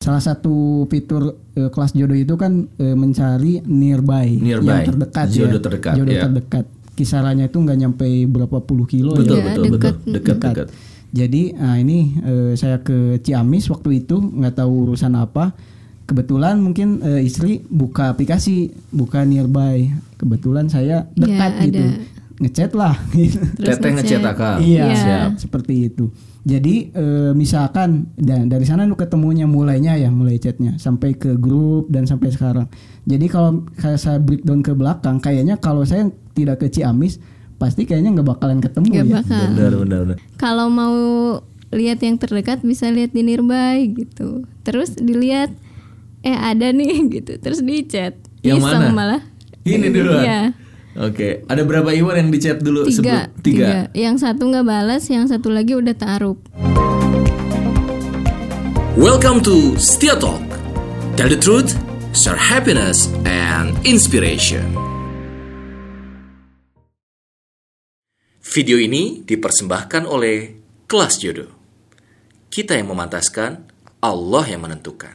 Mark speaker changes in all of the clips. Speaker 1: salah satu fitur eh, kelas jodoh itu kan eh, mencari nearby,
Speaker 2: Nearby.
Speaker 1: yang terdekat ya.
Speaker 2: Jodoh terdekat,
Speaker 1: jodoh
Speaker 2: ya.
Speaker 1: terdekat kisarannya itu nggak nyampe berapa puluh kilo
Speaker 2: betul,
Speaker 1: ya
Speaker 2: betul, betul, Iya, dekat, dekat.
Speaker 1: jadi ah, ini eh, saya ke Ciamis waktu itu nggak tahu urusan apa kebetulan mungkin eh, istri buka aplikasi buka nearby kebetulan saya dekat
Speaker 3: Iya,
Speaker 1: gitu
Speaker 3: ada.
Speaker 1: ngechat lah gitu.
Speaker 2: Teteh ngechat akal.
Speaker 1: Iya,
Speaker 2: Ah, Siap.
Speaker 1: seperti itu. Jadi eh, misalkan dan dari sana lu ketemunya mulainya ya, mulai chatnya sampai ke grup dan sampai sekarang. Jadi kalau kayak saya breakdown ke belakang, kayaknya kalau saya tidak ke Ciamis, pasti kayaknya nggak bakalan ketemu
Speaker 3: Nggak
Speaker 1: ya.
Speaker 3: bakal.
Speaker 2: Benar, benar, benar.
Speaker 3: Kalau mau lihat yang terdekat bisa lihat di nearby gitu. Terus dilihat eh ada nih gitu. Terus di chat.
Speaker 2: Yang mana?
Speaker 3: Iseng malah.
Speaker 2: Ini dulu.
Speaker 3: Iya.
Speaker 2: Oke, ada berapa Iwan yang di chat dulu sebelum-
Speaker 3: Tiga,
Speaker 2: tiga.
Speaker 3: Yang satu nggak balas, yang satu lagi udah taruh.
Speaker 4: Welcome to Setia Talk. Tell the truth, share happiness and inspiration. Video ini dipersembahkan oleh Kelas Jodoh. Kita yang memantaskan, Allah yang menentukan.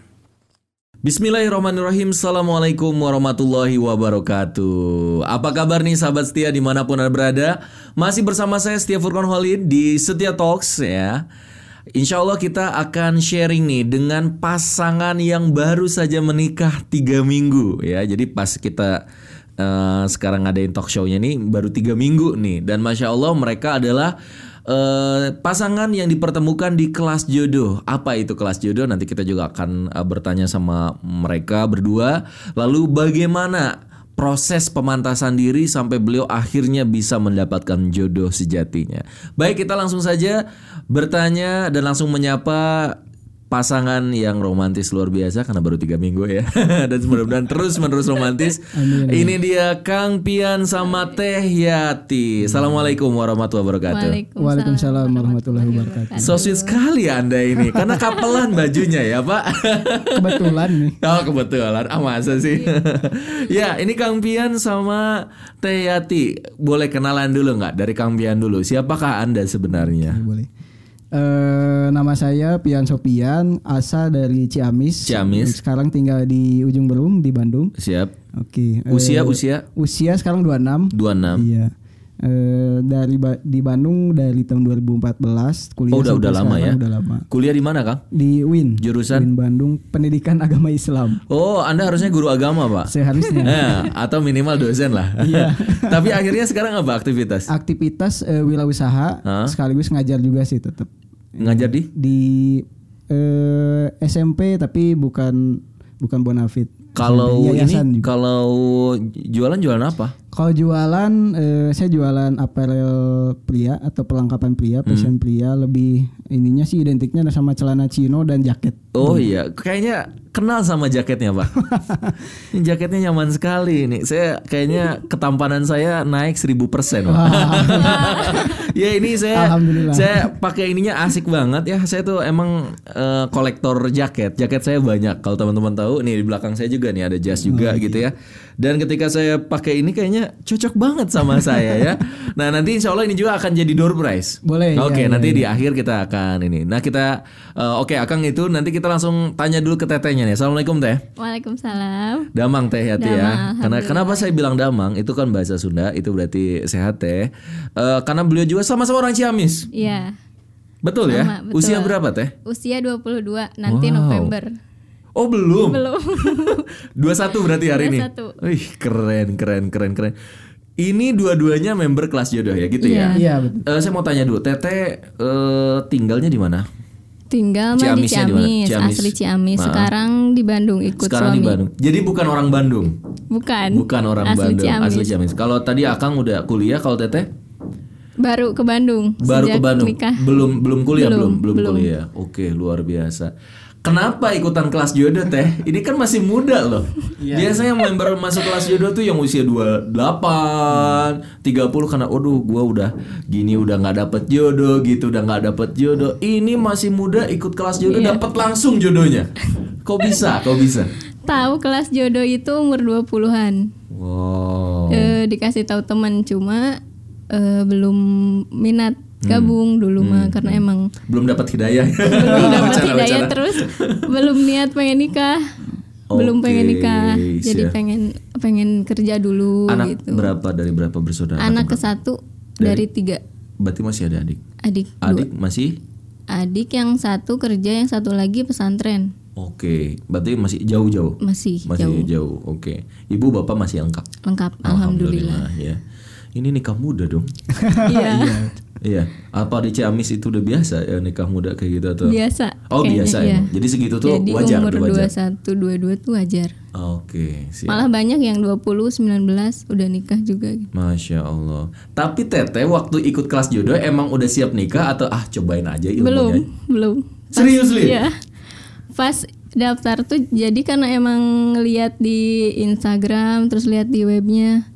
Speaker 2: Bismillahirrahmanirrahim Assalamualaikum warahmatullahi wabarakatuh Apa kabar nih sahabat setia dimanapun anda berada Masih bersama saya Setia Furkon Holid di Setia Talks ya Insya Allah kita akan sharing nih dengan pasangan yang baru saja menikah 3 minggu ya Jadi pas kita eh, sekarang ngadain talk show-nya nih baru 3 minggu nih Dan Masya Allah mereka adalah eh pasangan yang dipertemukan di kelas jodoh. Apa itu kelas jodoh? Nanti kita juga akan eh, bertanya sama mereka berdua. Lalu bagaimana proses pemantasan diri sampai beliau akhirnya bisa mendapatkan jodoh sejatinya. Baik, kita langsung saja bertanya dan langsung menyapa pasangan yang romantis luar biasa karena baru tiga minggu ya dan mudah-mudahan terus menerus romantis ini dia Kang Pian sama Teh Yati Assalamualaikum warahmatullahi wabarakatuh
Speaker 1: Waalaikumsalam warahmatullahi wabarakatuh.
Speaker 2: So sweet sekali anda ini Karena kapelan bajunya ya pak
Speaker 1: Kebetulan nih.
Speaker 2: Oh kebetulan Ah masa sih Ya ini Kang Pian sama Teh Yati Boleh kenalan dulu nggak Dari Kang Pian dulu Siapakah anda sebenarnya
Speaker 1: Boleh. Eh, nama saya Pian Sopian, asal dari Ciamis.
Speaker 2: Ciamis.
Speaker 1: Sekarang tinggal di Ujung Berung di Bandung.
Speaker 2: Siap
Speaker 1: Oke. eh,
Speaker 2: Usia usia
Speaker 1: usia sekarang 26.
Speaker 2: 26
Speaker 1: Iya. Eh, dari Ba- di Bandung dari tahun 2014 kuliah
Speaker 2: Oh, udah-
Speaker 1: sampai
Speaker 2: udah lama
Speaker 1: sekarang
Speaker 2: ya?
Speaker 1: udah lama.
Speaker 2: Kuliah di mana Kang?
Speaker 1: Di UIN.
Speaker 2: Jurusan?
Speaker 1: UIN Bandung Pendidikan Agama Islam.
Speaker 2: Oh, Anda harusnya guru agama, Pak.
Speaker 1: Seharusnya
Speaker 2: Eh, atau minimal dosen lah.
Speaker 1: Iya.
Speaker 2: Tapi akhirnya sekarang apa aktivitas?
Speaker 1: aktivitas eh, wirausaha
Speaker 2: Hah?
Speaker 1: sekaligus ngajar juga sih tetap.
Speaker 2: Ngajar di?
Speaker 1: Di eh, SMP tapi bukan bukan bonafit.
Speaker 2: Kalau
Speaker 1: SMP, yayasan
Speaker 2: ini
Speaker 1: juga.
Speaker 2: kalau jualan jualan apa?
Speaker 1: Kalau jualan, eh, saya jualan apparel pria atau perlengkapan pria,
Speaker 2: Hmm.
Speaker 1: fashion pria lebih ininya sih identiknya sama celana chino dan jaket.
Speaker 2: Oh iya, kayaknya kenal sama jaketnya, Pak. Ini jaketnya nyaman sekali ini. Saya kayaknya ketampanan saya naik 1000%, Pak. ya ini saya
Speaker 1: Alhamdulillah.
Speaker 2: saya pakai ininya asik banget ya. Saya tuh emang eh, kolektor jaket. Jaket saya banyak. Kalau teman-teman tahu nih di belakang saya juga nih ada jas juga
Speaker 1: Hmm.
Speaker 2: gitu ya. Dan ketika saya pakai ini kayaknya cocok banget sama saya ya. Nah, nanti insya Allah ini juga akan jadi door prize.
Speaker 1: Boleh,
Speaker 2: Oke,
Speaker 1: iya, iya,
Speaker 2: nanti di akhir kita akan ini. Nah, kita eh, oke Akang itu nanti kita langsung tanya dulu ke tetehnya nih. Assalamualaikum Teh.
Speaker 3: Waalaikumsalam.
Speaker 2: Damang teh hati
Speaker 3: Damang,
Speaker 2: ya. Karena kenapa saya bilang damang itu kan bahasa Sunda itu berarti sehat teh. Eh, karena beliau juga sama-sama orang Ciamis.
Speaker 3: Iya.
Speaker 2: Betul ya?
Speaker 3: Sama, betul.
Speaker 2: Usia berapa teh?
Speaker 3: Usia 22 nanti
Speaker 2: Wow.
Speaker 3: November.
Speaker 2: Oh belum.
Speaker 3: Belum.
Speaker 2: 21 berarti hari ini.
Speaker 3: 21.
Speaker 2: Wih, keren keren keren keren. Ini dua-duanya member kelas jodoh ya gitu ya.
Speaker 1: Iya betul.
Speaker 2: Eh, saya mau tanya dulu, Teteh eh, tinggalnya di mana?
Speaker 3: Tinggal mah di
Speaker 2: Ciamisnya di mana?
Speaker 3: Ciamis,
Speaker 2: Ciamis.
Speaker 3: asli Ciamis.
Speaker 2: Maaf.
Speaker 3: Sekarang di Bandung ikut
Speaker 2: Sekarang
Speaker 3: suami.
Speaker 2: di Bandung. Jadi bukan orang Bandung.
Speaker 3: Bukan.
Speaker 2: Bukan orang
Speaker 3: asli
Speaker 2: Bandung,
Speaker 3: Ciamis.
Speaker 2: asli Ciamis. Kalau tadi Akang udah kuliah, kalau Teteh
Speaker 3: Baru ke Bandung.
Speaker 2: baru ke
Speaker 3: sejak
Speaker 2: Bandung.
Speaker 3: Nikah.
Speaker 2: Belum belum kuliah, belum,
Speaker 3: Belum,
Speaker 2: belum
Speaker 3: belum.
Speaker 2: kuliah. Oke, luar biasa. Kenapa ikutan kelas jodoh Teh? Ini kan masih muda loh. Biasanya member masuk kelas jodoh tuh yang usia 28, 30 karena aduh gua udah gini udah nggak dapet jodoh gitu, udah nggak dapet jodoh. Ini masih muda ikut kelas jodoh
Speaker 3: Iya.
Speaker 2: dapet langsung jodohnya. Kok bisa? Kok bisa?
Speaker 3: Tahu kelas jodoh itu umur 20-an.
Speaker 2: Wow. Oh.
Speaker 3: Iya. Eh, dikasih tahu teman cuma eh, belum minat
Speaker 2: Hmm.
Speaker 3: gabung dulu mah karena emang
Speaker 2: Belum dapat hidayah.
Speaker 3: belum dapat
Speaker 2: Bercanda,
Speaker 3: hidayah
Speaker 2: bercanda.
Speaker 3: terus belum niat pengen nikah belum pengen
Speaker 2: Oke,
Speaker 3: nikah jadi
Speaker 2: siap.
Speaker 3: pengen pengen kerja dulu
Speaker 2: Anak Nah,
Speaker 3: gitu
Speaker 2: berapa dari berapa bersaudara?
Speaker 3: anak ke satu dari tiga
Speaker 2: Berarti masih ada adik.
Speaker 3: adik
Speaker 2: Adik masih
Speaker 3: adik yang satu kerja yang satu lagi pesantren
Speaker 2: Oke, berarti masih jauh-jauh.
Speaker 3: masih
Speaker 2: Masih jauh. Oke. Ibu bapak masih lengkap.
Speaker 3: lengkap alhamdulillah,
Speaker 2: ya. Ini nikah muda dong.
Speaker 3: iya
Speaker 2: Iya. Apa di Ciamis itu udah biasa ya nikah muda kayak gitu atau?
Speaker 3: biasa
Speaker 2: Oh,
Speaker 3: kayaknya,
Speaker 2: biasa
Speaker 3: iya.
Speaker 2: emang. Jadi segitu tuh
Speaker 3: jadi
Speaker 2: wajar,
Speaker 3: umur
Speaker 2: udah wajar.
Speaker 3: 21 22 tuh wajar
Speaker 2: Oke, siap.
Speaker 3: malah banyak yang 20 19 udah nikah juga gitu.
Speaker 2: Masya Allah. Tapi Teteh waktu ikut kelas jodoh emang udah siap nikah atau ah cobain aja
Speaker 3: belum
Speaker 2: ilmunya?
Speaker 3: belum
Speaker 2: Serius Lin?
Speaker 3: Iya. Pas daftar tuh jadi karena emang lihat di Instagram terus lihat di webnya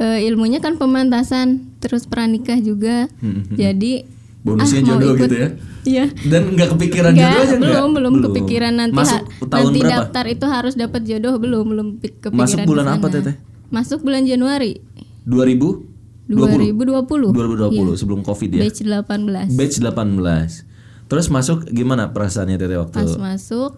Speaker 3: Eh, ilmunya kan pemantasan terus pranikah juga jadi
Speaker 2: Hmm.
Speaker 3: Ah,
Speaker 2: Bonusnya jodoh gitu ya?
Speaker 3: iya
Speaker 2: Dan nggak kepikiran
Speaker 3: Nggak,
Speaker 2: jodoh aja nggak?
Speaker 3: belum belum kepikiran nanti
Speaker 2: Masuk
Speaker 3: ha-
Speaker 2: tahun
Speaker 3: nanti
Speaker 2: berapa?
Speaker 3: daftar itu harus dapat jodoh belum belum pi- kepikiran
Speaker 2: Masuk bulan
Speaker 3: kesana.
Speaker 2: apa, Teteh?
Speaker 3: masuk bulan Januari
Speaker 2: 2000?
Speaker 3: 2020
Speaker 2: 2020 sebelum Covid ya.
Speaker 3: Iya. batch 18
Speaker 2: Batch 18. Terus masuk gimana perasaannya Teteh waktu?
Speaker 3: pas masuk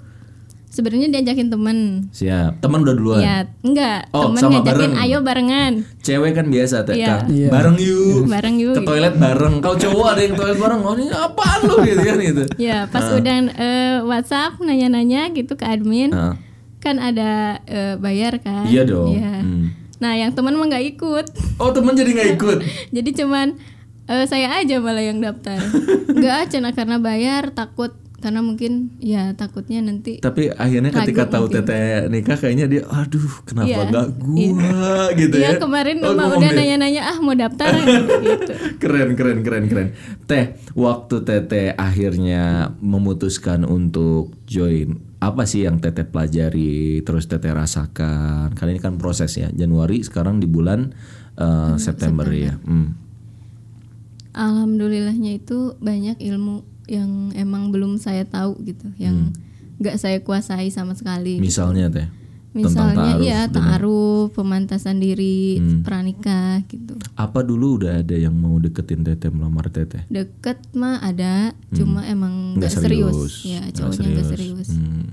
Speaker 3: sebenarnya diajakin temen
Speaker 2: Siap. Teman udah duluan.
Speaker 3: Ya, enggak.
Speaker 2: Oh,
Speaker 3: Temen
Speaker 2: sama
Speaker 3: ngajakin
Speaker 2: bareng.
Speaker 3: ayo barengan.
Speaker 2: Cewek kan biasa Teh. Kak,
Speaker 3: Iya.
Speaker 2: Bareng yuk.
Speaker 3: Bareng yuk,
Speaker 2: Ke
Speaker 3: gitu.
Speaker 2: toilet bareng. Kau cowok ada yang toilet bareng. Oh, ini apaan lu gitu kan gitu.
Speaker 3: Ya, pas udah eh, WhatsApp nanya-nanya gitu ke admin,
Speaker 2: Nah,
Speaker 3: kan ada eh, bayar kan?
Speaker 2: Iya dong. Hmm.
Speaker 3: Nah, yang teman mah nggak ikut.
Speaker 2: Oh, teman jadi nggak ikut.
Speaker 3: Jadi cuman eh, saya aja malah yang daftar. Enggak, cina karena bayar takut karena mungkin ya takutnya nanti
Speaker 2: Tapi akhirnya ketika
Speaker 3: Ragu
Speaker 2: tahu
Speaker 3: mungkin.
Speaker 2: Teteh nikah kayaknya dia aduh kenapa
Speaker 3: Iya.
Speaker 2: nggak gua gitu ya.
Speaker 3: Iya kemarin
Speaker 2: Oh,
Speaker 3: emang
Speaker 2: ngomong
Speaker 3: udah
Speaker 2: deh.
Speaker 3: nanya-nanya ah mau daftar gitu.
Speaker 2: keren keren keren keren teh waktu teteh akhirnya memutuskan untuk join apa sih yang teteh pelajari terus teteh rasakan kali ini kan proses ya Januari sekarang di bulan eh, September, ya Hmm.
Speaker 3: Iya, gitu. Alhamdulillahnya itu banyak ilmu yang emang belum saya tahu gitu, yang
Speaker 2: Hmm.
Speaker 3: nggak saya kuasai sama sekali.
Speaker 2: misalnya teh ta'aruf,
Speaker 3: Misalnya
Speaker 2: Hmm.
Speaker 3: ya ta'aruf, pemantasan diri, pranikah gitu.
Speaker 2: apa dulu udah ada yang mau deketin teteh melamar teteh
Speaker 3: Deket mah ada, cuma emang nggak serius. Ya,
Speaker 2: Hmm. nggak
Speaker 3: cowoknya nggak serius.
Speaker 2: Hmm.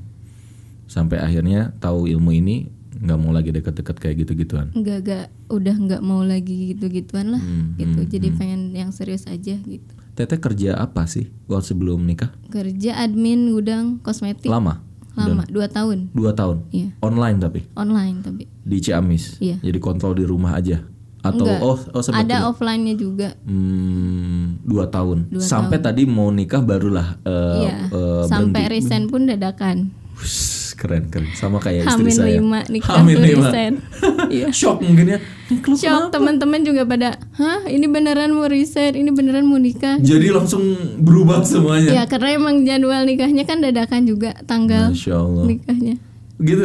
Speaker 2: sampai akhirnya tahu ilmu ini nggak mau lagi deket-deket kayak gitu-gituan
Speaker 3: Nggak nggak udah nggak mau lagi gitu-gituan lah
Speaker 2: Hmm,
Speaker 3: gitu. Jadi pengen yang serius aja gitu.
Speaker 2: Teteh kerja apa sih waktu sebelum nikah?
Speaker 3: Kerja admin gudang kosmetik
Speaker 2: Lama,
Speaker 3: lama, dua tahun.
Speaker 2: dua tahun.
Speaker 3: Iya.
Speaker 2: Online tapi
Speaker 3: Online tapi
Speaker 2: di Ciamis.
Speaker 3: Iya.
Speaker 2: Jadi kontrol di rumah aja. Atau oh oh sempat
Speaker 3: ada
Speaker 2: juga.
Speaker 3: offline-nya juga.
Speaker 2: Hmm, dua tahun. sampai tadi mau nikah barulah. eh,
Speaker 3: Iya,
Speaker 2: eh,
Speaker 3: sampai resign pun dadakan.
Speaker 2: wuss, keren keren. Sama kayak Ya, istri
Speaker 3: Hamin
Speaker 2: saya.
Speaker 3: lima nikah
Speaker 2: Hamin
Speaker 3: tuh
Speaker 2: lima.
Speaker 3: resign.
Speaker 2: Shock mungkin ya. Nih, lu
Speaker 3: Shock teman-teman juga pada, hah ini beneran mau resign, ini beneran mau nikah.
Speaker 2: Jadi langsung berubah semuanya.
Speaker 3: Ya karena emang jadwal nikahnya kan dadakan juga tanggal
Speaker 2: Masya Allah.
Speaker 3: nikahnya.
Speaker 2: gitu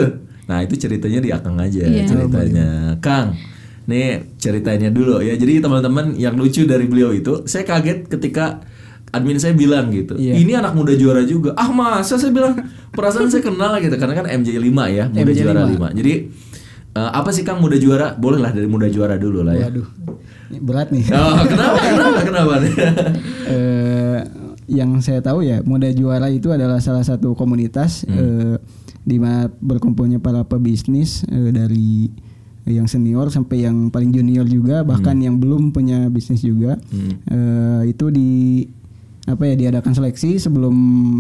Speaker 2: nah itu ceritanya di akang aja
Speaker 1: Iya.
Speaker 2: ceritanya kang nih ceritanya dulu ya jadi teman-teman yang lucu dari beliau itu saya kaget ketika admin saya bilang gitu
Speaker 1: Iya.
Speaker 2: ini anak muda juara juga ah masa saya bilang perasaan saya kenal gitu karena kan MJ5 ya muda juara 5 jadi eh, apa sih kang muda juara bolehlah dari muda juara dulu lah ya
Speaker 1: Waduh, ini berat nih.
Speaker 2: Oh, kenapa kenapa kenapa
Speaker 1: eh yang saya tahu ya Muda Juara itu adalah salah satu komunitas
Speaker 2: Hmm.
Speaker 1: eh, di mana berkumpulnya para pebisnis eh, dari yang senior sampai yang paling junior juga
Speaker 2: Hmm.
Speaker 1: bahkan yang belum punya bisnis juga Eh, itu di apa ya diadakan seleksi sebelum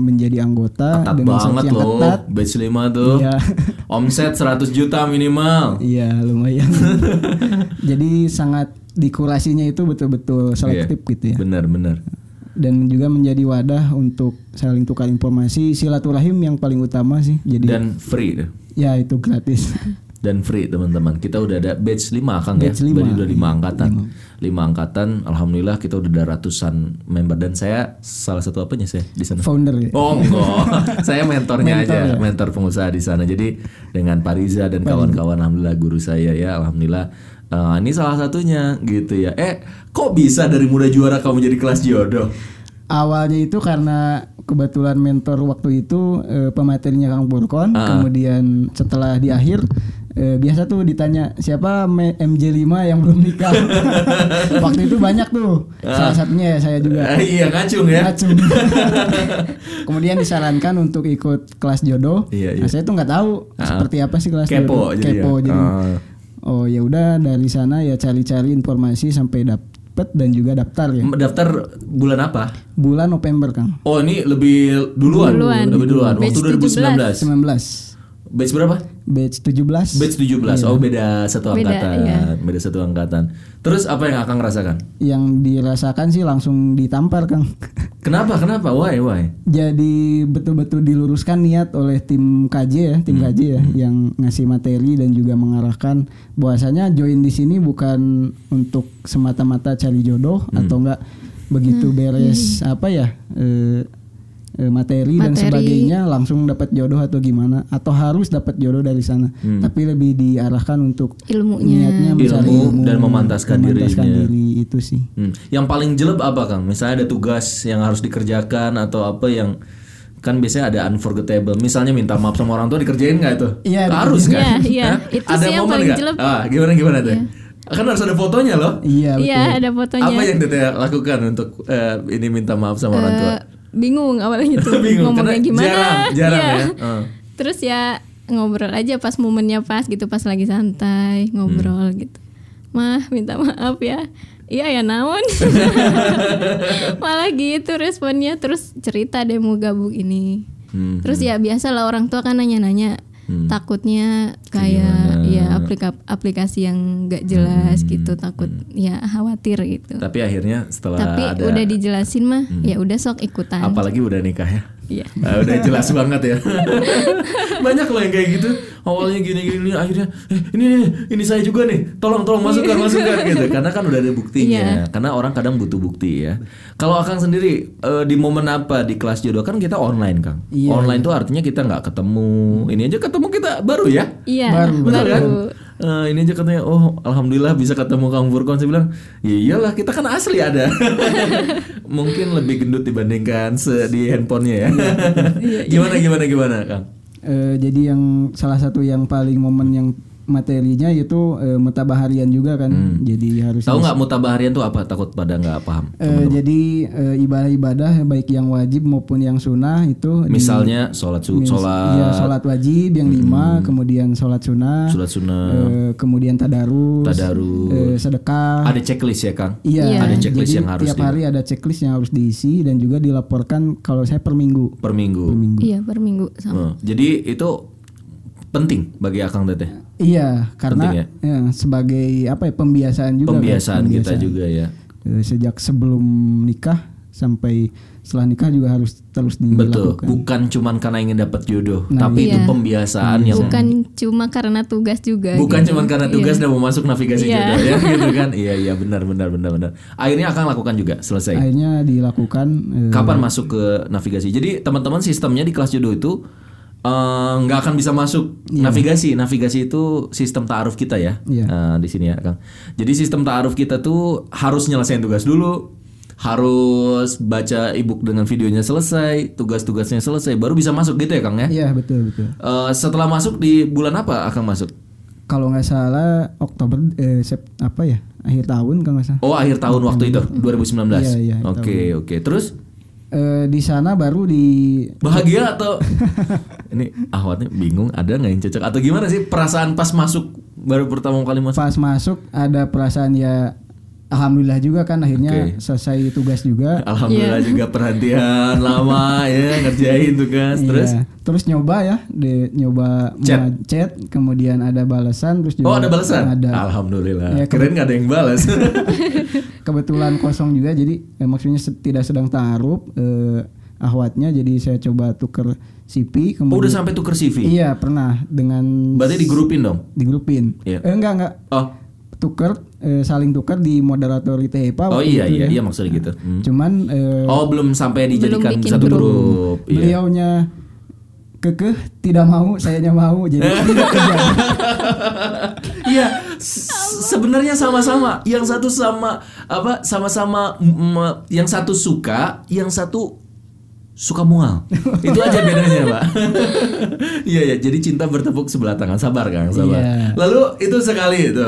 Speaker 1: menjadi anggota
Speaker 2: ketat
Speaker 1: dengan
Speaker 2: banget
Speaker 1: seleksi yang
Speaker 2: loh
Speaker 1: ketat
Speaker 2: batch 5 tuh
Speaker 1: Iya.
Speaker 2: omset 100 juta minimal
Speaker 1: Iya lumayan. Jadi sangat dikurasinya itu betul-betul selektif
Speaker 2: Iya.
Speaker 1: gitu ya.
Speaker 2: benar benar
Speaker 1: dan juga menjadi wadah untuk saling tukar informasi silaturahim yang paling utama sih jadi
Speaker 2: dan free tuh.
Speaker 1: ya itu gratis
Speaker 2: dan free teman-teman kita udah ada batch 5 Kang
Speaker 1: Batch
Speaker 2: ya
Speaker 1: lima. Iya,
Speaker 2: Berarti udah 5 angkatan 5 angkatan alhamdulillah kita udah ada ratusan member dan saya salah satu apanya saya di sana
Speaker 1: founder ya
Speaker 2: Oh enggak, saya mentornya aja, mentor pengusaha di sana. Jadi dengan Pariza dan kawan-kawan, alhamdulillah guru saya ya, alhamdulillah eh, ini salah satunya gitu ya. Eh, kok bisa dari muda juara kamu jadi kelas jodoh?
Speaker 1: awalnya itu karena kebetulan
Speaker 2: Ah.
Speaker 1: mentor waktu itu eh, pematerinya Kang Burkon kemudian setelah di akhir eh, biasa tuh ditanya siapa me- MJ5 yang belum nikah. Waktu itu banyak tuh. Salah satunya ya saya juga.
Speaker 2: Eh, iya ngacung ya.
Speaker 1: Ngacung. Kemudian disarankan untuk ikut kelas jodoh.
Speaker 2: Iya,
Speaker 1: Nah,
Speaker 2: iya.
Speaker 1: saya tuh nggak tahu
Speaker 2: Ah.
Speaker 1: seperti apa sih kelas
Speaker 2: Kepo
Speaker 1: jodoh.
Speaker 2: jadi
Speaker 1: Kepo
Speaker 2: ya.
Speaker 1: jadi.
Speaker 2: Ah.
Speaker 1: Oh ya udah dari sana ya cari-cari informasi sampai dapet dan juga daftar
Speaker 2: Hmm.
Speaker 1: ya.
Speaker 2: Daftar bulan apa?
Speaker 1: Bulan November Kang.
Speaker 2: Oh ini lebih duluan,
Speaker 3: Duluan.
Speaker 2: lebih duluan. Waktu
Speaker 3: Batch
Speaker 2: 2019.
Speaker 1: 19.
Speaker 2: Batch berapa?
Speaker 1: Batch 17.
Speaker 2: Batch 17. Oh beda satu
Speaker 3: Iya. Beda,
Speaker 2: angkatan,
Speaker 3: iya.
Speaker 2: beda satu angkatan. Terus apa yang akan rasakan?
Speaker 1: yang dirasakan sih langsung ditampar Kang.
Speaker 2: Kenapa? Kenapa? Why? Why?
Speaker 1: Jadi betul-betul diluruskan niat oleh tim KJ ya, tim
Speaker 2: Hmm.
Speaker 1: KJ ya yang ngasih materi dan juga mengarahkan bahwasanya join di sini bukan untuk semata-mata cari jodoh
Speaker 2: Hmm.
Speaker 1: atau enggak begitu beres apa ya eh, eh, materi, dan
Speaker 3: Materi.
Speaker 1: sebagainya langsung dapat jodoh atau gimana atau harus dapat jodoh dari sana.
Speaker 2: Hmm.
Speaker 1: Tapi lebih diarahkan untuk
Speaker 3: ilmunya
Speaker 1: niatnya
Speaker 2: Ilmu
Speaker 1: mencari ilmu
Speaker 2: dan memantaskan dirinya.
Speaker 1: diri itu sih.
Speaker 2: Hmm. Yang paling jelek apa Kang? Misalnya ada tugas yang harus dikerjakan atau apa yang kan biasanya ada unforgettable. Misalnya minta maaf sama orang tua dikerjain nggak itu?
Speaker 1: Iya,
Speaker 2: harus
Speaker 3: Iya,
Speaker 2: kan?
Speaker 3: iya.
Speaker 2: Hah?
Speaker 3: Itu
Speaker 2: ada
Speaker 3: sih yang
Speaker 2: momen
Speaker 3: paling
Speaker 2: nggak?
Speaker 3: jelek.
Speaker 2: Ah, gimana gimana tuh? Kan harus ada fotonya loh.
Speaker 1: Iya betul.
Speaker 3: iya ada fotonya
Speaker 2: Apa ya? yang Teteh lakukan untuk eh, ini minta maaf sama orang tua?
Speaker 3: Eh, bingung awalnya itu
Speaker 2: Bingung,
Speaker 3: Gitu, ngomongnya
Speaker 2: karena
Speaker 3: gimana
Speaker 2: jarang, jarang
Speaker 3: Iya.
Speaker 2: ya. Heeh.
Speaker 3: terus ya ngobrol aja pas momennya pas gitu pas lagi santai ngobrol
Speaker 2: Hmm.
Speaker 3: gitu mah minta maaf ya iya ya naon malah gitu responnya terus cerita deh mau gabung ini
Speaker 2: Hmm.
Speaker 3: terus ya biasa lah orang tua kan nanya-nanya takutnya
Speaker 2: Kayak
Speaker 3: kayak
Speaker 2: gimana? Hmm.
Speaker 3: ya aplika- aplikasi yang nggak jelas gitu takut ya khawatir gitu
Speaker 2: Tapi akhirnya setelah
Speaker 3: tapi
Speaker 2: ada Hmm.
Speaker 3: udah dijelasin mah ya udah sok ikutan
Speaker 2: apalagi udah nikah ya.
Speaker 3: Iya.
Speaker 2: Ah, udah jelas banget ya. Banyak loh yang kayak gitu. Awalnya gini-gini akhirnya eh, ini nih, ini saya juga nih. Tolong tolong masukkan masukkan gitu. Karena kan udah ada
Speaker 3: Iya.
Speaker 2: buktinya. Karena orang kadang butuh bukti ya. Kalau Akang sendiri eh, di momen apa di kelas jodoh kan kita online, Kang.
Speaker 3: Iya.
Speaker 2: online tuh artinya kita nggak ketemu. Ini aja ketemu kita baru ya.
Speaker 3: iya
Speaker 1: Baru.
Speaker 2: Betul kan? Eh, ini aja katanya, oh alhamdulillah bisa ketemu Kang Furkon. Saya bilang, ya iyalah kita kan asli ada. Mungkin lebih gendut dibandingkan se- di handphonenya ya. gimana gimana gimana Kang?
Speaker 1: Eh, jadi yang salah satu yang paling momen yang materinya itu eh, mutabah harian juga kan. Jadi harus
Speaker 2: Hmm. Tahu nggak mutabah harian tuh apa? Takut pada nggak paham.
Speaker 1: Eh, jadi eh, ibadah-ibadah baik yang wajib maupun yang sunnah itu di-
Speaker 2: Misalnya sholat su-
Speaker 1: mis- iya,
Speaker 2: sholat Hmm.
Speaker 1: sholat wajib yang lima, kemudian sholat sunnah,
Speaker 2: sholat sunnah,
Speaker 1: eh, kemudian tadarus, eh,
Speaker 2: tadarus.
Speaker 1: sedekah.
Speaker 2: Ada checklist ya Kang?
Speaker 1: Iya.
Speaker 3: Iya.
Speaker 2: Ada checklist
Speaker 1: jadi
Speaker 2: yang harus
Speaker 1: tiap
Speaker 2: di-
Speaker 1: hari ada checklist yang harus diisi dan juga dilaporkan kalau saya per minggu.
Speaker 2: Per minggu.
Speaker 3: iya per minggu
Speaker 2: Eh,
Speaker 3: sama
Speaker 2: jadi itu penting bagi Akang Teteh.
Speaker 1: Iya,
Speaker 2: Penting
Speaker 1: karena ya, sebagai apa ya pembiasaan juga. kan.
Speaker 2: Pembiasaan kita juga ya.
Speaker 1: Eh, sejak sebelum nikah sampai setelah nikah juga harus terus
Speaker 2: Betul,
Speaker 1: dilakukan.
Speaker 2: bukan cuman karena ingin dapat jodoh, tapi itu
Speaker 3: Iya.
Speaker 2: pembiasaan yang
Speaker 3: bukan cuma karena tugas juga
Speaker 2: bukan
Speaker 3: gitu.
Speaker 2: cuman karena tugas dan mau masuk navigasi
Speaker 3: Iya.
Speaker 2: jodoh ya gitu kan. Iya iya benar benar benar benar. Akhirnya akan lakukan juga selesai.
Speaker 1: Akhirnya dilakukan eh,
Speaker 2: Kapan masuk ke navigasi? Jadi teman-teman sistemnya di kelas jodoh itu eh, nggak akan bisa masuk navigasi. Navigasi itu sistem taaruf kita ya
Speaker 1: Iya.
Speaker 2: Eh, di sini ya Kang. Jadi sistem taaruf kita tuh harus nyelesain tugas dulu, harus baca ebook dengan videonya selesai, tugas-tugasnya selesai, baru bisa masuk gitu ya Kang ya.
Speaker 1: Iya betul betul.
Speaker 2: Eh, setelah masuk di bulan apa akan masuk?
Speaker 1: Kalau nggak salah Oktober eh, Sep- apa ya akhir tahun kalau nggak salah.
Speaker 2: Oh akhir tahun waktu itu 2019.
Speaker 1: Iya, iya,
Speaker 2: oke oke. Terus
Speaker 1: Eh, di sana baru di
Speaker 2: bahagia atau ini ahwatnya bingung ada nggak yang cocok atau gimana sih perasaan pas masuk baru pertama kali masuk?
Speaker 1: pas masuk ada perasaan ya alhamdulillah juga kan akhirnya selesai tugas juga.
Speaker 2: Alhamdulillah juga perhatian lama ya ngerjain tugas. Terus
Speaker 1: Iya. terus nyoba ya, di, nyoba
Speaker 2: Chat.
Speaker 1: mau chat, kemudian ada balasan terus
Speaker 2: oh
Speaker 1: juga
Speaker 2: ada balasan?
Speaker 1: Ada.
Speaker 2: Alhamdulillah.
Speaker 1: Iya,
Speaker 2: Keren nggak ada yang balas.
Speaker 1: kebetulan kosong juga jadi eh, maksudnya se- tidak sedang taruh eh, ahwatnya jadi saya coba tuker CV
Speaker 2: oh, udah
Speaker 1: kemudian
Speaker 2: sampai tuker CV.
Speaker 1: iya pernah dengan
Speaker 2: Berarti digrupin dong.
Speaker 1: digrupin
Speaker 2: Iya.
Speaker 1: eh, enggak enggak
Speaker 2: Oh
Speaker 1: tuker eh, saling tuker di moderatori TEPA
Speaker 2: oh
Speaker 1: waktu
Speaker 2: iya
Speaker 1: itu
Speaker 2: iya
Speaker 1: ya.
Speaker 2: iya maksudnya gitu. Hmm.
Speaker 1: cuman eh,
Speaker 2: Oh belum sampai dijadikan
Speaker 3: bikin
Speaker 2: satu
Speaker 3: grup.
Speaker 2: grup. Iya.
Speaker 1: beliaunya kekeh tidak mau sayanya mau jadi tidak kerja
Speaker 2: Iya, se- sebenarnya sama-sama. Yang satu sama apa? Sama-sama mm, yang satu suka, yang satu suka mual. Itu aja bedanya, Pak. Iya ya, jadi cinta bertepuk sebelah tangan. Sabar, Kang, sabar.
Speaker 1: Iya.
Speaker 2: Lalu itu sekali itu.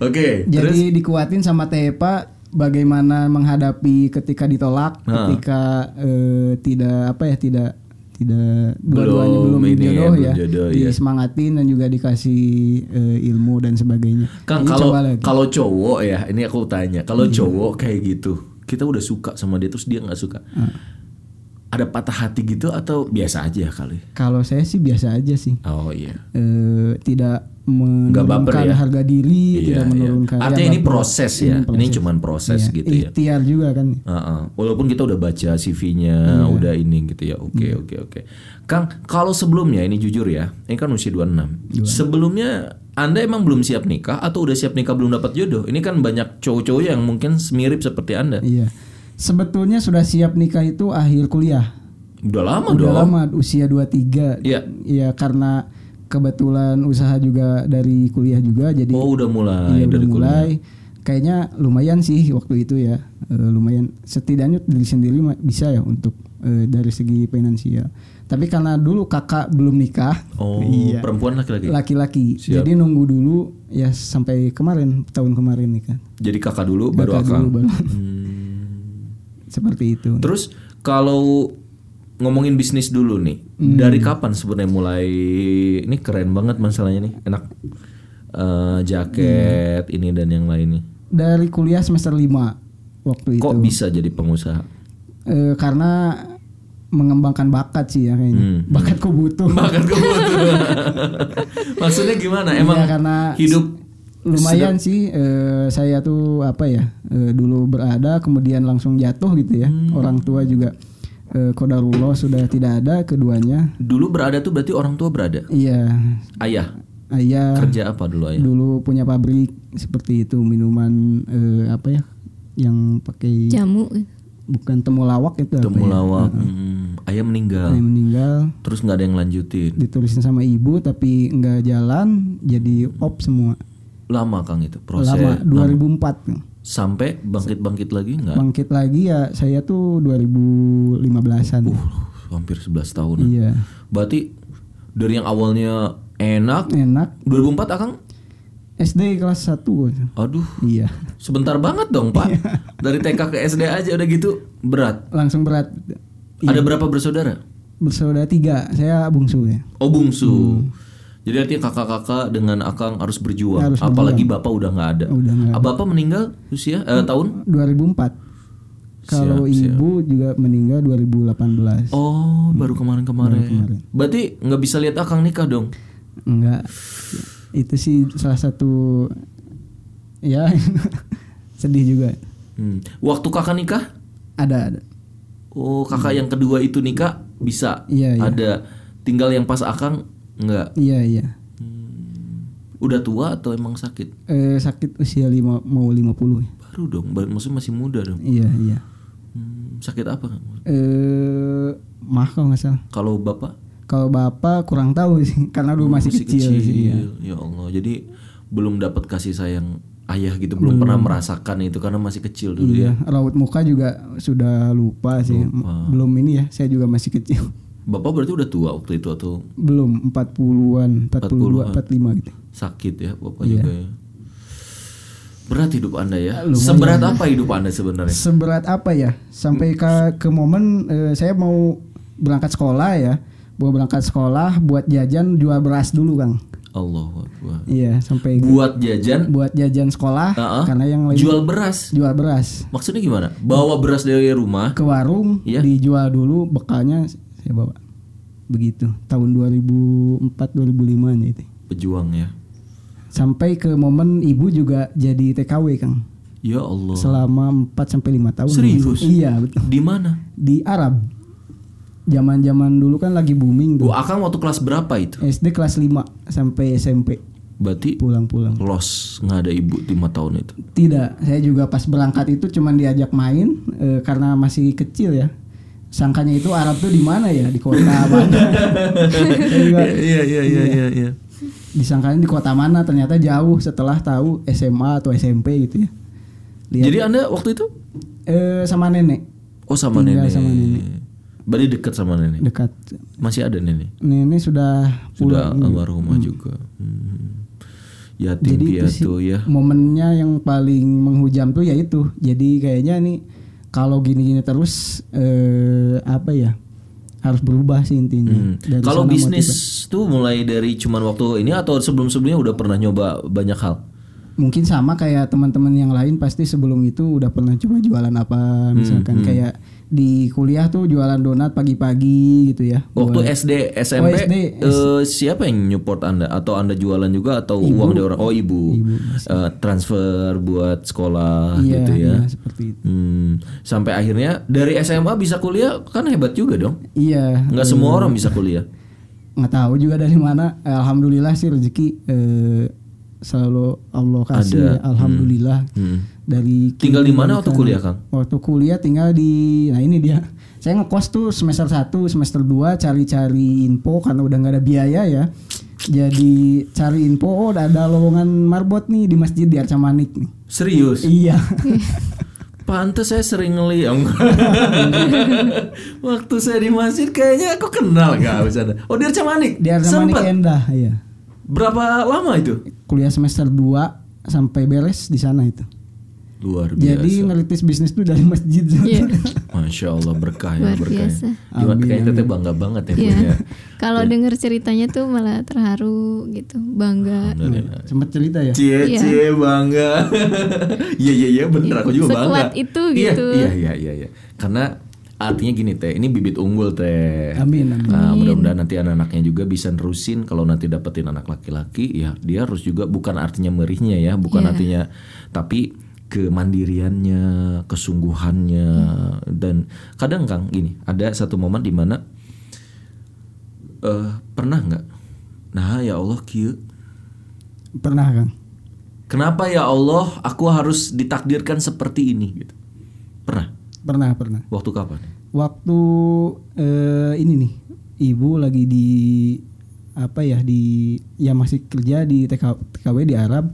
Speaker 2: Oke, terus
Speaker 1: Jadi dikuatin sama Tepa bagaimana menghadapi ketika ditolak, ketika eh, tidak apa ya, tidak tidak dua-duanya belum,
Speaker 2: Belum ini ya,
Speaker 1: jodoh
Speaker 2: belum
Speaker 1: ya,
Speaker 2: jodoh, iya.
Speaker 1: disemangatin dan juga dikasih eh, ilmu dan sebagainya.
Speaker 2: Kang
Speaker 1: Jadi
Speaker 2: kalau
Speaker 1: coba lagi. Hmm.
Speaker 2: kalau cowok ya, ini aku tanya, kalau cowok kayak gitu, kita udah suka sama dia terus dia nggak suka. Ada patah hati gitu atau biasa aja kali?
Speaker 1: kalau saya sih biasa aja sih,
Speaker 2: Oh iya.
Speaker 1: Eh, tidak
Speaker 2: Nggak baper
Speaker 1: menurunkan
Speaker 2: ya?
Speaker 1: harga diri,
Speaker 2: Iya,
Speaker 1: tidak
Speaker 2: iya.
Speaker 1: menurunkan. ya,
Speaker 2: Artinya ini
Speaker 1: baper.
Speaker 2: proses ya. Ini, cuman proses
Speaker 1: Iya,
Speaker 2: gitu ya.
Speaker 1: Ikhtiar juga kan.
Speaker 2: Heeh. Walaupun kita udah baca
Speaker 1: Iya.
Speaker 2: CV-nya, udah ini gitu ya. Oke, oke, oke. Kang, kalau sebelumnya ini jujur ya, ini kan usia 26. Sebelumnya Anda emang belum siap nikah atau udah siap nikah belum dapat jodoh? Ini kan banyak cowok-cowok yang mungkin mirip seperti Anda.
Speaker 1: Iya. Sebetulnya sudah siap nikah itu akhir kuliah.
Speaker 2: Udah lama
Speaker 1: udah
Speaker 2: dong.
Speaker 1: lama usia 23
Speaker 2: Iya.
Speaker 1: ya karena kebetulan usaha juga dari kuliah juga jadi
Speaker 2: Oh, udah mulai
Speaker 1: iya, udah
Speaker 2: dari kuliah.
Speaker 1: mulai kayaknya lumayan sih waktu itu ya Eh, lumayan setidaknya diri sendiri ma- bisa ya untuk eh, dari segi finansial tapi karena dulu kakak belum nikah
Speaker 2: Oh,
Speaker 1: iya
Speaker 2: perempuan laki-laki.
Speaker 1: laki-laki
Speaker 2: Siap.
Speaker 1: jadi nunggu dulu ya sampai kemarin tahun kemarin nih kan
Speaker 2: Jadi kakak dulu Oh, baru
Speaker 1: Kakak
Speaker 2: akang.
Speaker 1: dulu baru.
Speaker 2: Hmm.
Speaker 1: seperti itu
Speaker 2: Terus kalau ngomongin bisnis dulu nih,
Speaker 1: Hmm.
Speaker 2: dari kapan sebenarnya mulai? Ini keren banget masalahnya nih, enak Eh, jaket
Speaker 1: Hmm.
Speaker 2: ini dan yang lainnya.
Speaker 1: dari kuliah semester 5 waktu itu
Speaker 2: Kok bisa jadi pengusaha?
Speaker 1: Eh, karena mengembangkan bakat sih ya
Speaker 2: Hmm.
Speaker 1: kayaknya. Bakatku butuh.
Speaker 2: Bakat kebutuhan. Maksudnya gimana?
Speaker 1: Iya,
Speaker 2: Emang
Speaker 1: karena
Speaker 2: hidup
Speaker 1: lumayan sih eh, saya tuh apa ya eh, dulu berada kemudian langsung jatuh gitu ya.
Speaker 2: Hmm.
Speaker 1: Orang tua juga eh, kodarullah sudah tidak ada keduanya.
Speaker 2: dulu berada tuh berarti orang tua berada.
Speaker 1: Iya,
Speaker 2: Ayah
Speaker 1: ayah
Speaker 2: kerja oh ya. apa dulu ayah?
Speaker 1: Ah. dulu punya pabrik seperti itu minuman eh, apa ya yang pakai
Speaker 3: jamu
Speaker 1: bukan temulawak itu apa ya?
Speaker 2: Temulawak. Hmm, Ayah meninggal.
Speaker 1: Ayah meninggal
Speaker 2: Terus nggak ada yang lanjutin.
Speaker 1: ditulisin sama ibu tapi nggak jalan jadi op semua
Speaker 2: Lama Kang itu proses.
Speaker 1: lama 2004
Speaker 2: Sampai bangkit-bangkit lagi nggak?
Speaker 1: bangkit lagi ya saya tuh 2015an
Speaker 2: Uh, hampir 11 tahun.
Speaker 1: iya
Speaker 2: Berarti dari yang awalnya enak
Speaker 1: enak
Speaker 2: 2004 Akang
Speaker 1: SD kelas 1
Speaker 2: aduh
Speaker 1: iya
Speaker 2: sebentar banget dong, Pak. dari TK ke SD aja udah gitu berat.
Speaker 1: langsung berat Iya.
Speaker 2: Ada berapa bersaudara?
Speaker 1: bersaudara tiga saya bungsu ya
Speaker 2: Oh, bungsu.
Speaker 1: Hmm.
Speaker 2: Jadi artinya kakak-kakak dengan Akang harus berjuang,
Speaker 1: Harus
Speaker 2: apalagi Bapak udah nggak ada.
Speaker 1: Udah nggak Hmm.
Speaker 2: Ah, Bapak meninggal usia eh, tahun
Speaker 1: 2004 kalau
Speaker 2: Siap, siap.
Speaker 1: ibu juga meninggal 2018
Speaker 2: Oh, baru kemarin-kemarin.
Speaker 1: kemarin.
Speaker 2: Berarti nggak bisa lihat Akang nikah dong.
Speaker 1: enggak itu sih salah satu ya sedih juga
Speaker 2: Hmm. Waktu kakak nikah,
Speaker 1: ada ada
Speaker 2: oh kakak yang kedua itu nikah bisa.
Speaker 1: Hmm. Iya, iya.
Speaker 2: Ada tinggal yang pas Akang nggak.
Speaker 1: iya iya
Speaker 2: Udah tua atau emang sakit?
Speaker 1: eh, sakit usia lima mau 50 ya
Speaker 2: Baru dong, bar- maksudnya masih muda dong.
Speaker 1: Iya iya.
Speaker 2: Hmm, sakit apa?
Speaker 1: Eh mah kalau nggak salah.
Speaker 2: Kalau bapak
Speaker 1: Kalau bapak kurang tahu sih karena dulu masih, kecil, sih. iya.
Speaker 2: Ya Allah, jadi belum dapat kasih sayang ayah gitu, belum pernah merasakan itu karena masih kecil dulu
Speaker 1: Iya,
Speaker 2: ya.
Speaker 1: Raut muka juga sudah lupa sih. Belum ini ya, saya juga masih kecil.
Speaker 2: Bapak berarti udah tua waktu itu atau
Speaker 1: Belum 40-an, 42, 45 gitu.
Speaker 2: sakit ya bapak
Speaker 1: Iya.
Speaker 2: juga ya. Berat hidup anda ya.
Speaker 1: Lumayan.
Speaker 2: Seberat apa hidup anda sebenarnya?
Speaker 1: Seberat apa ya? Sampai ke ke momen eh, saya mau berangkat sekolah ya. Mau berangkat sekolah buat jajan jual beras dulu, Kang.
Speaker 2: Allah Akbar.
Speaker 1: Iya, sampai
Speaker 2: Buat jajan,
Speaker 1: buat jajan sekolah
Speaker 2: uh-uh,
Speaker 1: karena yang lain
Speaker 2: jual beras.
Speaker 1: jual beras.
Speaker 2: Maksudnya gimana? Bawa beras dari rumah.
Speaker 1: ke warung
Speaker 2: Iya.
Speaker 1: dijual dulu bekalnya saya bawa begitu tahun 2004 2005 an itu
Speaker 2: Pejuang ya.
Speaker 1: sampai ke momen ibu juga jadi TKW Kang
Speaker 2: Ya Allah.
Speaker 1: selama 4 sampai 5 tahun
Speaker 2: Serius?
Speaker 1: iya betul
Speaker 2: Di mana?
Speaker 1: di Arab zaman-zaman dulu kan lagi booming tuh
Speaker 2: Gua akan waktu kelas berapa itu?
Speaker 1: SD kelas 5 sampai SMP
Speaker 2: Berarti
Speaker 1: pulang-pulang
Speaker 2: los nggak ada ibu lima tahun itu.
Speaker 1: tidak saya juga pas berangkat itu cuman diajak main eh, karena masih kecil ya sangkanya itu Arab tuh di mana ya di kota mana Saya juga
Speaker 2: Iya iya iya iya. iya.
Speaker 1: disangkanya di kota mana ternyata jauh setelah tahu SMA atau SMP gitu ya lihat
Speaker 2: Jadi anda waktu itu
Speaker 1: eh, sama nenek
Speaker 2: oh sama
Speaker 1: Tinggal
Speaker 2: nenek.
Speaker 1: sama nenek.
Speaker 2: Berarti dekat sama nenek.
Speaker 1: dekat
Speaker 2: Masih ada nenek.
Speaker 1: nenek sudah Hmm.
Speaker 2: Sudah almarhumah juga. Hmm. Yatim
Speaker 1: Jadi itu sih
Speaker 2: piatu ya.
Speaker 1: momennya yang paling menghujam tuh yaitu. Jadi kayaknya nih kalau gini-gini terus eh, apa ya? Harus berubah sih intinya.
Speaker 2: Hmm.
Speaker 1: Dari
Speaker 2: Kalau
Speaker 1: sana
Speaker 2: bisnis tuh mulai dari cuman waktu ini atau sebelum-sebelumnya udah pernah nyoba banyak hal.
Speaker 1: motivasi. mungkin sama kayak teman-teman yang lain pasti sebelum itu udah pernah coba jualan
Speaker 2: Hmm,
Speaker 1: apa misalkan kayak di kuliah tuh jualan donat pagi-pagi gitu ya.
Speaker 2: Waktu SD, SMP,
Speaker 1: SD.
Speaker 2: eh, siapa yang nyupport Anda? Atau Anda jualan juga atau uang dari orang? Oh, ibu. Eh, transfer buat sekolah
Speaker 1: Iya,
Speaker 2: gitu ya.
Speaker 1: iya, seperti itu.
Speaker 2: Hmm. Sampai akhirnya dari SMA bisa kuliah kan hebat juga dong.
Speaker 1: Iya,
Speaker 2: Nggak semua orang bisa kuliah.
Speaker 1: nggak tahu juga dari mana. Alhamdulillah sih rezeki eh, selalu Allah kasih.
Speaker 2: Ada.
Speaker 1: ya. Alhamdulillah
Speaker 2: Hmm.
Speaker 1: dari kiri
Speaker 2: Tinggal di
Speaker 1: dan
Speaker 2: mana waktu
Speaker 1: kanan.
Speaker 2: kuliah, Kang?
Speaker 1: Waktu kuliah tinggal di nah ini dia. Saya ngekos tuh semester 1, semester 2 cari-cari info karena udah nggak ada biaya ya. Jadi cari info oh ada- ada lowongan marbot nih di masjid di Arca Manik nih.
Speaker 2: Serius.
Speaker 1: Iya.
Speaker 2: Pantes saya sering ngeliang. Waktu saya di masjid kayaknya aku kenal nggak bisa. Oh di Arca Manik.
Speaker 1: di Arca Manik
Speaker 2: Sempet.
Speaker 1: Endah, iya.
Speaker 2: Berapa lama itu?
Speaker 1: Kuliah semester 2 sampai beres di sana itu.
Speaker 2: Luar biasa.
Speaker 1: Jadi ngelitis bisnis tuh dari masjid. Iya.
Speaker 2: Masya Allah berkah ya
Speaker 3: Luar
Speaker 2: berkah.
Speaker 3: biasa.
Speaker 2: Ya. Gimana kayaknya teteh bangga banget ya
Speaker 3: Iya.
Speaker 2: punya.
Speaker 3: Kalau dengar ceritanya tuh malah terharu gitu, bangga.
Speaker 1: Sempet cerita ya.
Speaker 2: Cie
Speaker 3: Iya.
Speaker 2: cie bangga. Iya iya iya bener aku juga bangga.
Speaker 3: Sekuat itu
Speaker 2: Iya,
Speaker 3: gitu.
Speaker 2: Iya iya iya iya. Karena artinya gini teh, ini bibit unggul teh.
Speaker 1: Amin, amin.
Speaker 2: Nah, mudah-mudahan nanti anak-anaknya juga bisa nerusin kalau nanti dapetin anak laki-laki ya dia harus juga bukan artinya merihnya ya, bukan
Speaker 1: Iya.
Speaker 2: artinya tapi kemandiriannya, kesungguhannya dan kadang Kang gini, ada satu momen di mana eh pernah nggak? Nah, ya Allah kieu
Speaker 1: Pernah Kang.
Speaker 2: Kenapa ya Allah aku harus ditakdirkan seperti ini gitu. Pernah?
Speaker 1: Pernah, pernah.
Speaker 2: Waktu kapan?
Speaker 1: Waktu eh, ini nih, ibu lagi di apa ya di ya masih kerja di TK, TKW di Arab.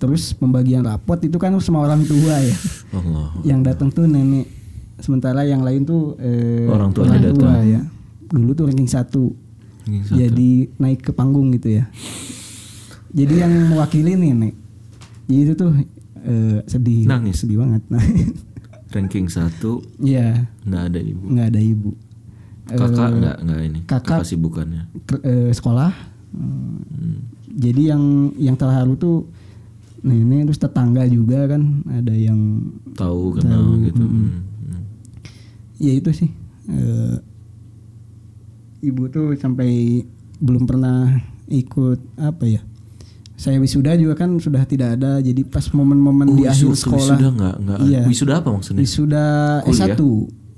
Speaker 1: Terus pembagian rapot itu kan semua orang tua ya.
Speaker 2: Allah.
Speaker 1: yang datang tuh nenek. Sementara yang lain tuh eh,
Speaker 2: Orang tuanya datang.
Speaker 1: ya. Dulu tuh ranking satu.
Speaker 2: Ini satu.
Speaker 1: jadi naik ke panggung gitu ya jadi yang mewakili nenek jadi itu tuh eh, sedih
Speaker 2: Nangis.
Speaker 1: sedih banget nah
Speaker 2: Ranking satu
Speaker 1: ya
Speaker 2: nggak ada ibu.
Speaker 1: nggak ada ibu
Speaker 2: Kakak nggak nggak ini.
Speaker 1: Eh, kakak-
Speaker 2: kesibukannya.
Speaker 1: Ter- eh, sekolah eh,
Speaker 2: Hmm,
Speaker 1: jadi yang yang terharu tuh nenek terus tetangga juga kan ada yang
Speaker 2: Tahu kenal gitu. Hmm, hmm.
Speaker 1: ya itu sih eh, ibu tuh sampai belum pernah ikut apa ya saya wisuda juga kan sudah tidak ada jadi pas momen-momen
Speaker 2: Oh,
Speaker 1: di akhir
Speaker 2: wisu-
Speaker 1: sekolah
Speaker 2: Wisuda nggak nggak.
Speaker 1: Iya.
Speaker 2: Wisuda apa maksudnya?
Speaker 1: wisuda
Speaker 2: Kuliah?
Speaker 1: S1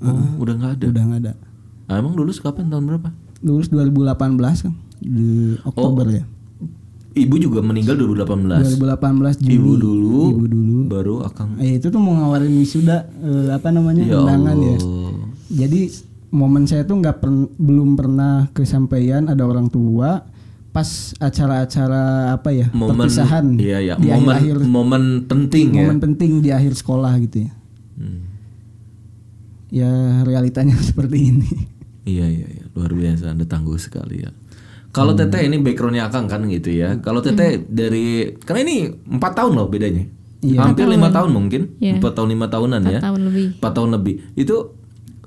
Speaker 2: Oh, udah nggak ada.
Speaker 1: udah nggak ada
Speaker 2: Ah, emang lulus kapan tahun berapa?
Speaker 1: lulus 2018 kan di Oktober ya
Speaker 2: Ibu juga meninggal 2018.
Speaker 1: 2018 Juni
Speaker 2: Ibu dulu.
Speaker 1: ibu dulu
Speaker 2: Baru akang.
Speaker 1: Eh, itu tuh mau ngawarin wisuda eh, apa namanya
Speaker 2: Ya
Speaker 1: undangan ya
Speaker 2: Allah.
Speaker 1: jadi momen saya tuh nggak pern- belum pernah kesampaian ada orang tua pas acara-acara apa ya
Speaker 2: Momen.
Speaker 1: perpisahan
Speaker 2: Iya iya.
Speaker 1: di
Speaker 2: Momen
Speaker 1: akhir,
Speaker 2: momen penting ya.
Speaker 1: momen penting di akhir sekolah gitu ya
Speaker 2: Hmm.
Speaker 1: ya realitanya seperti ini
Speaker 2: Iya iya iya luar biasa Anda tangguh sekali ya. Kalau Teteh ini backgroundnya Akang kan gitu ya. Kalau Teteh
Speaker 3: Hmm.
Speaker 2: dari karena ini empat tahun loh bedanya. Hampir lima tahun mungkin.
Speaker 3: Iya.
Speaker 2: Empat tahun lima tahunan ya.
Speaker 3: Tahun lebih.
Speaker 2: Empat tahun lebih. Itu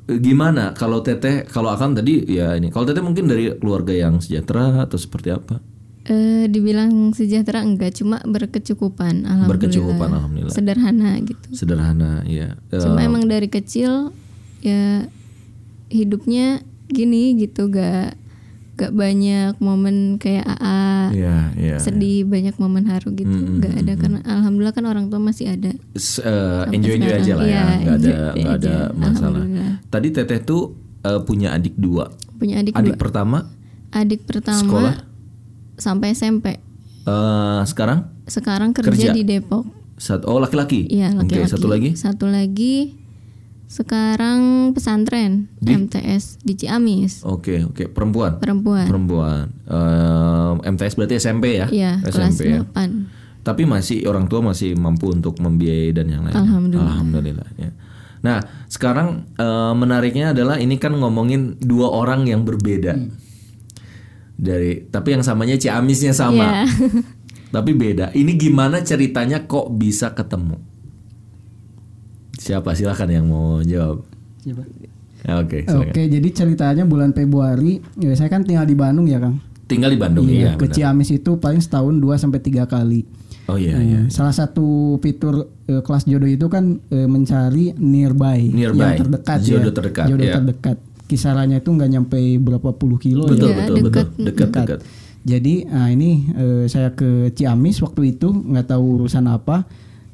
Speaker 2: eh, gimana kalau Teteh kalau Akang tadi ya ini. Kalau Teteh mungkin dari keluarga yang sejahtera atau seperti apa?
Speaker 3: Eh, dibilang sejahtera enggak, cuma berkecukupan alhamdulillah.
Speaker 2: Berkecukupan, alhamdulillah.
Speaker 3: Sederhana gitu.
Speaker 2: Sederhana ya. Eh,
Speaker 3: Cuma emang dari kecil ya hidupnya gini gitu gak gak banyak momen kayak AA
Speaker 2: Iya iya.
Speaker 3: sedih banyak momen haru gitu nggak ada karena alhamdulillah kan orang tua masih ada
Speaker 2: S- eh, enjoy enjoy aja lah ya.
Speaker 3: Iya,
Speaker 2: Nggak ada
Speaker 3: enjoy
Speaker 2: nggak ada
Speaker 3: aja.
Speaker 2: masalah.
Speaker 3: Alhamdulillah.
Speaker 2: Tadi Teteh tuh eh, punya adik dua.
Speaker 3: punya adik
Speaker 2: Adik
Speaker 3: dua
Speaker 2: pertama
Speaker 3: adik pertama
Speaker 2: Sekolah?
Speaker 3: sampai SMP
Speaker 2: eh, sekarang
Speaker 3: sekarang kerja,
Speaker 2: Kerja.
Speaker 3: di Depok
Speaker 2: Satu, oh laki-laki.
Speaker 3: iya
Speaker 2: Oke,
Speaker 3: laki-laki
Speaker 2: satu lagi.
Speaker 3: satu lagi sekarang pesantren
Speaker 2: Di?
Speaker 3: MTS di Ciamis
Speaker 2: Oke, oke, perempuan.
Speaker 3: perempuan
Speaker 2: Perempuan. Ehm, MTS berarti SMP ya?
Speaker 3: iya kelas
Speaker 2: SMP ya.
Speaker 3: 8
Speaker 2: Tapi masih orang tua masih mampu untuk membiayai dan yang lain.
Speaker 3: Alhamdulillah.
Speaker 2: Alhamdulillah ya. Nah, sekarang eh, menariknya adalah ini kan ngomongin dua orang yang berbeda.
Speaker 3: Hmm.
Speaker 2: Dari tapi yang samanya Ciamisnya sama.
Speaker 3: Iya.
Speaker 2: tapi beda. Ini gimana ceritanya kok bisa ketemu? Siapa silahkan yang mau jawab. Ya, Oke, silakan.
Speaker 1: Oke, jadi ceritanya bulan Februari, ya saya kan tinggal di Bandung ya, Kang.
Speaker 2: Tinggal di Bandung
Speaker 1: iya,
Speaker 2: ya.
Speaker 1: ke Ciamis itu paling setahun 2 sampai 3 kali.
Speaker 2: Oh iya,
Speaker 1: Nah,
Speaker 2: iya.
Speaker 1: Salah satu fitur eh, kelas jodoh itu kan eh, mencari nearby,
Speaker 2: Nearby,
Speaker 1: yang terdekat
Speaker 2: jodoh
Speaker 1: ya.
Speaker 2: terdekat,
Speaker 1: Jodoh
Speaker 2: ya.
Speaker 1: terdekat. Kisarannya itu nggak nyampe berapa puluh kilo ya.
Speaker 2: Betul,
Speaker 3: Iya,
Speaker 2: betul,
Speaker 3: dekat.
Speaker 2: betul. Dekat, dekat.
Speaker 1: Jadi ah, ini eh, saya ke Ciamis waktu itu nggak tahu urusan apa.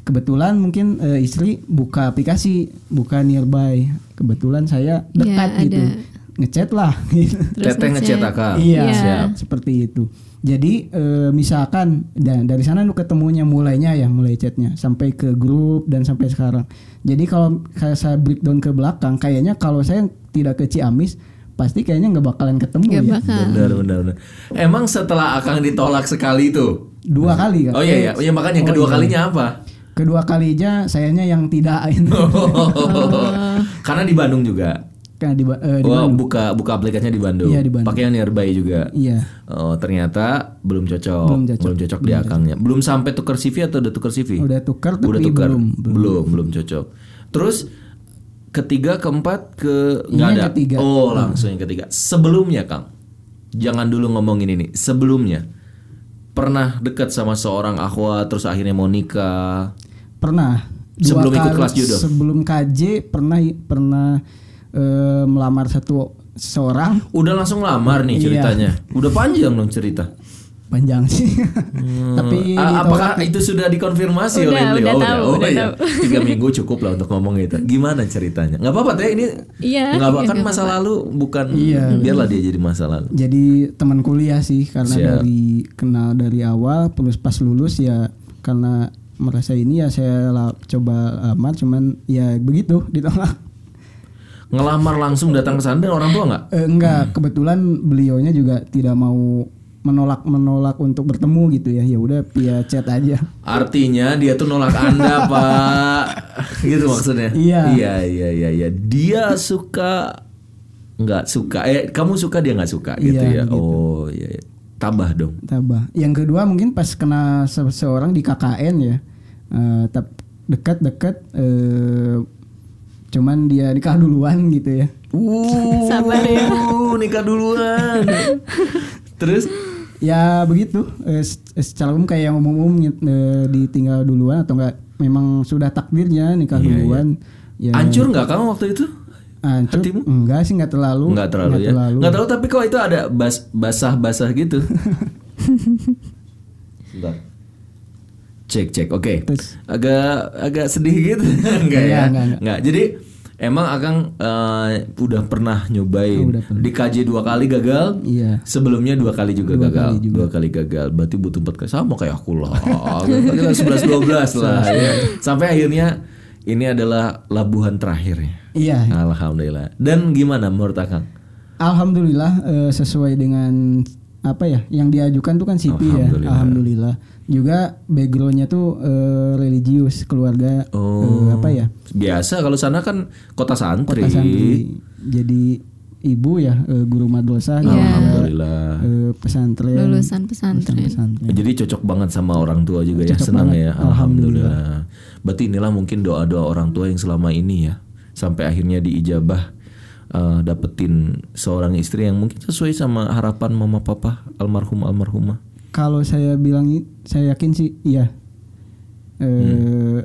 Speaker 1: Kebetulan mungkin eh, istri buka aplikasi, buka nearby. Kebetulan saya dekat
Speaker 3: Ya,
Speaker 1: gitu.
Speaker 3: ada.
Speaker 1: Ngechat lah gitu.
Speaker 3: Terus
Speaker 2: Teteh ngechat
Speaker 3: ngechat.
Speaker 2: akang.
Speaker 1: Iya,
Speaker 2: Ah, Siap.
Speaker 1: seperti itu. Jadi eh, misalkan dan dari sana lu ketemunya mulainya ya, mulai chatnya sampai ke grup dan sampai sekarang. Jadi kalau kayak saya breakdown ke belakang, kayaknya kalau saya tidak ke Ciamis pasti kayaknya nggak bakalan
Speaker 2: Oh,
Speaker 1: ketemu
Speaker 2: iya.
Speaker 3: Gak
Speaker 1: ya.
Speaker 3: bakal.
Speaker 2: Benar, benar, benar. Emang setelah Akang ditolak sekali itu?
Speaker 1: Dua kali kan.
Speaker 2: Oh iya, iya. Ya, makanya yang kedua kalinya apa?
Speaker 1: Kedua kalinya sayanya yang tidak
Speaker 2: Oh. Karena di Bandung juga.
Speaker 1: karena di, ba- eh, Oh. di
Speaker 2: Wah,
Speaker 1: Bandung.
Speaker 2: buka buka aplikasinya di Bandung.
Speaker 1: Iya, di Bandung.
Speaker 2: Pakai yang nearby juga.
Speaker 1: Iya.
Speaker 2: Oh, ternyata belum cocok.
Speaker 1: Belum cocok.
Speaker 2: di akangnya. Belum sampai tuker CV atau udah tuker CV?
Speaker 1: Udah tuker tapi
Speaker 2: Udah tuker.
Speaker 1: belum.
Speaker 2: belum. Belum, cocok. Terus ketiga, keempat, ke nggak
Speaker 1: yang
Speaker 2: ada.
Speaker 1: ketiga. Hmm.
Speaker 2: Oh, langsung yang ketiga. Sebelumnya, Kang. Jangan dulu ngomongin ini. Sebelumnya pernah dekat sama seorang akhwat terus akhirnya mau nikah.
Speaker 1: Pernah.
Speaker 2: Sebelum ikut kelas judo?
Speaker 1: Sebelum KJ pernah pernah eh, melamar satu seorang
Speaker 2: Udah langsung
Speaker 1: Iya.
Speaker 2: lamar nih ceritanya. Udah panjang dong cerita.
Speaker 1: panjang sih. Tapi gitu.
Speaker 2: Hmm. A-
Speaker 1: ditolak.
Speaker 2: apakah itu sudah dikonfirmasi
Speaker 3: Udah,
Speaker 2: oleh beliau?
Speaker 3: udah
Speaker 2: Oh,
Speaker 3: tahu,
Speaker 2: oh,
Speaker 3: udah
Speaker 2: iya.
Speaker 3: tahu.
Speaker 2: Tiga minggu cukup lah untuk ngomong itu. Gimana ceritanya? Nggak apa-apa teh ini.
Speaker 3: Iya,
Speaker 2: Nggak apa
Speaker 3: iya,
Speaker 2: kan
Speaker 3: nggak
Speaker 2: masa lalu bukan.
Speaker 1: Iya.
Speaker 2: Biarlah dia jadi masa lalu.
Speaker 1: jadi teman kuliah sih karena
Speaker 2: Siap.
Speaker 1: dari kenal dari awal terus pas lulus ya karena merasa ini ya saya la- coba lamar cuman ya begitu ditolak.
Speaker 2: Ngelamar langsung datang ke sana dan orang tua nggak?
Speaker 1: Eh, enggak,
Speaker 2: Hmm.
Speaker 1: kebetulan beliaunya juga tidak mau menolak menolak untuk bertemu gitu ya. Ya udah via chat aja.
Speaker 2: Artinya dia tuh nolak Anda, Pak. Gitu maksudnya.
Speaker 1: Iya.
Speaker 2: Iya, iya, iya, iya. Dia suka nggak suka. Eh, kamu suka dia nggak suka gitu ya.
Speaker 1: Iya, gitu.
Speaker 2: Oh, iya. iya. Tabah dong.
Speaker 1: Tabah. Yang kedua mungkin pas kena seseorang di KKN ya. Eh, tap- dekat-dekat eh, cuman dia nikah duluan gitu ya.
Speaker 2: Uh, Sabar ya. nikah duluan. Terus
Speaker 1: Ya begitu. Eh, se- secara umum kayak yang umum-umum eh, ditinggal duluan atau enggak memang sudah takdirnya nikah
Speaker 2: Iya, iya.
Speaker 1: duluan. Ya,
Speaker 2: hancur nggak kamu waktu itu?
Speaker 1: hancur.
Speaker 2: hatimu?
Speaker 1: Enggak sih enggak terlalu.
Speaker 2: Nggak terlalu
Speaker 1: Enggak
Speaker 2: ya. Nggak terlalu tapi kok itu ada bas basah-basah gitu. Sebentar. Cek cek. Oke.
Speaker 1: Terus.
Speaker 2: Agak agak sedih gitu enggak
Speaker 1: Iya,
Speaker 2: ya?
Speaker 1: nggak, nggak.
Speaker 2: Nggak. Jadi emang Akang eh, udah pernah nyobain
Speaker 1: Udah pernah.
Speaker 2: di KJ dua kali gagal.
Speaker 1: Iya.
Speaker 2: Sebelumnya dua kali juga
Speaker 1: Dua
Speaker 2: gagal,
Speaker 1: kali juga.
Speaker 2: dua kali gagal. Berarti butuh empat kali sama kayak aku lah. Kita sebelas dua belas lah. ya. Sampai akhirnya ini adalah labuhan terakhirnya.
Speaker 1: Iya.
Speaker 2: Alhamdulillah. Dan gimana menurut Akang?
Speaker 1: Alhamdulillah eh, sesuai dengan apa ya yang diajukan tuh kan CV ya.
Speaker 2: Alhamdulillah.
Speaker 1: Alhamdulillah. Juga backgroundnya tuh eh, religius keluarga eh,
Speaker 2: Oh.
Speaker 1: apa ya
Speaker 2: Biasa kalau sana kan kota santri.
Speaker 1: kota santri. Jadi ibu ya eh, guru madrasah dan
Speaker 2: Alhamdulillah.
Speaker 1: eh, pesantren.
Speaker 3: Lulusan pesantren.
Speaker 1: pesantren.
Speaker 2: Ya, Jadi cocok banget sama orang tua juga ya, senang ya. Alhamdulillah. Berarti inilah mungkin doa-doa orang tua yang selama ini ya sampai akhirnya diijabah eh, dapetin seorang istri yang mungkin sesuai sama harapan mama papa almarhum almarhumah.
Speaker 1: Kalau saya bilang i- saya yakin sih iya.
Speaker 2: Hmm.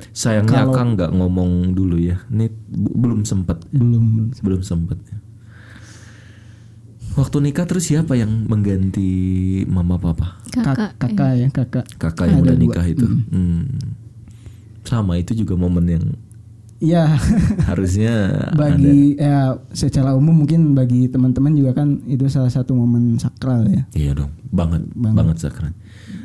Speaker 1: Eh,
Speaker 2: Sayangnya Akang nggak ngomong dulu ya. Ini bu- belum sempet
Speaker 1: belum
Speaker 2: belum sempat waktu nikah terus siapa yang mengganti mama papa
Speaker 1: Kak-
Speaker 3: Kakak. eh, iya.
Speaker 1: kakak ya kakak.
Speaker 2: kakak yang udah nikah itu Hmm. sama itu juga momen yang
Speaker 1: Iya.
Speaker 2: harusnya Nah, ada
Speaker 1: bagi ya secara umum mungkin bagi teman-teman juga kan itu salah satu momen sakral ya
Speaker 2: iya dong banget banget, sakral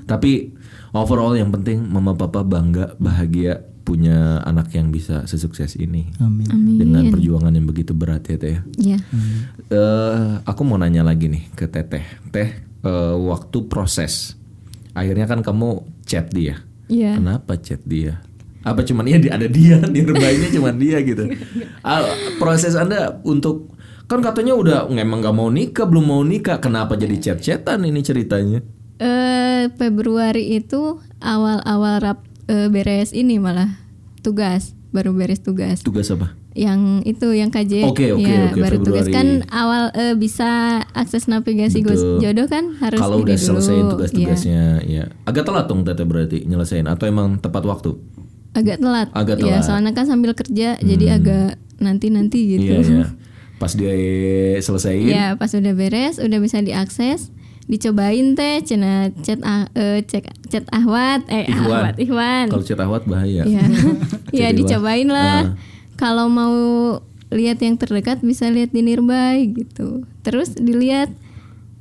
Speaker 2: tapi overall yang penting mama papa bangga bahagia punya anak yang bisa sesukses ini
Speaker 1: amin
Speaker 2: dengan perjuangan yang begitu berat ya teh ya.
Speaker 3: Iya.
Speaker 2: eh aku mau nanya lagi nih ke Teteh. Teh, eh, waktu proses, akhirnya kan kamu chat dia.
Speaker 3: Iya.
Speaker 2: Kenapa chat dia? apa cuman ya di- ada dia nearby-nya cuman dia gitu Ah, proses anda untuk kan katanya udah emang nggak mau nikah belum mau nikah kenapa jadi
Speaker 3: Ya.
Speaker 2: chat-chatan ini ceritanya
Speaker 3: Eh Februari itu awal-awal rap eh, beres ini malah tugas, baru beres tugas.
Speaker 2: tugas apa
Speaker 3: yang itu yang KJ
Speaker 2: Oke, oke,
Speaker 3: ya
Speaker 2: oke,
Speaker 3: baru tugas
Speaker 2: Februari.
Speaker 3: kan awal eh, bisa akses navigasi gos-
Speaker 2: Betul.
Speaker 3: jodoh kan harus
Speaker 2: kalau
Speaker 3: ini
Speaker 2: udah
Speaker 3: dulu.
Speaker 2: selesaiin
Speaker 3: Iya.
Speaker 2: tugas-tugasnya ya agak telat dong teteh berarti nyelesain atau emang tepat waktu
Speaker 3: agak telat
Speaker 2: Agak
Speaker 3: ya
Speaker 2: telat. Hmm.
Speaker 3: soalnya kan sambil kerja jadi agak nanti nanti
Speaker 2: iya
Speaker 3: gitu
Speaker 2: ya pas dia selesaiin
Speaker 3: Ya, pas udah beres, udah bisa diakses, dicobain teh cina chat ah- eh, cek chat Ahwat eh
Speaker 2: Ikhwan.
Speaker 3: Ahwat Ikhwan.
Speaker 2: kalau cerita awat bahaya
Speaker 3: Ya. ya
Speaker 2: Jadi Ah.
Speaker 3: dicobain
Speaker 2: wah,
Speaker 3: lah. Kalau mau lihat yang terdekat bisa lihat di nearby gitu. Terus dilihat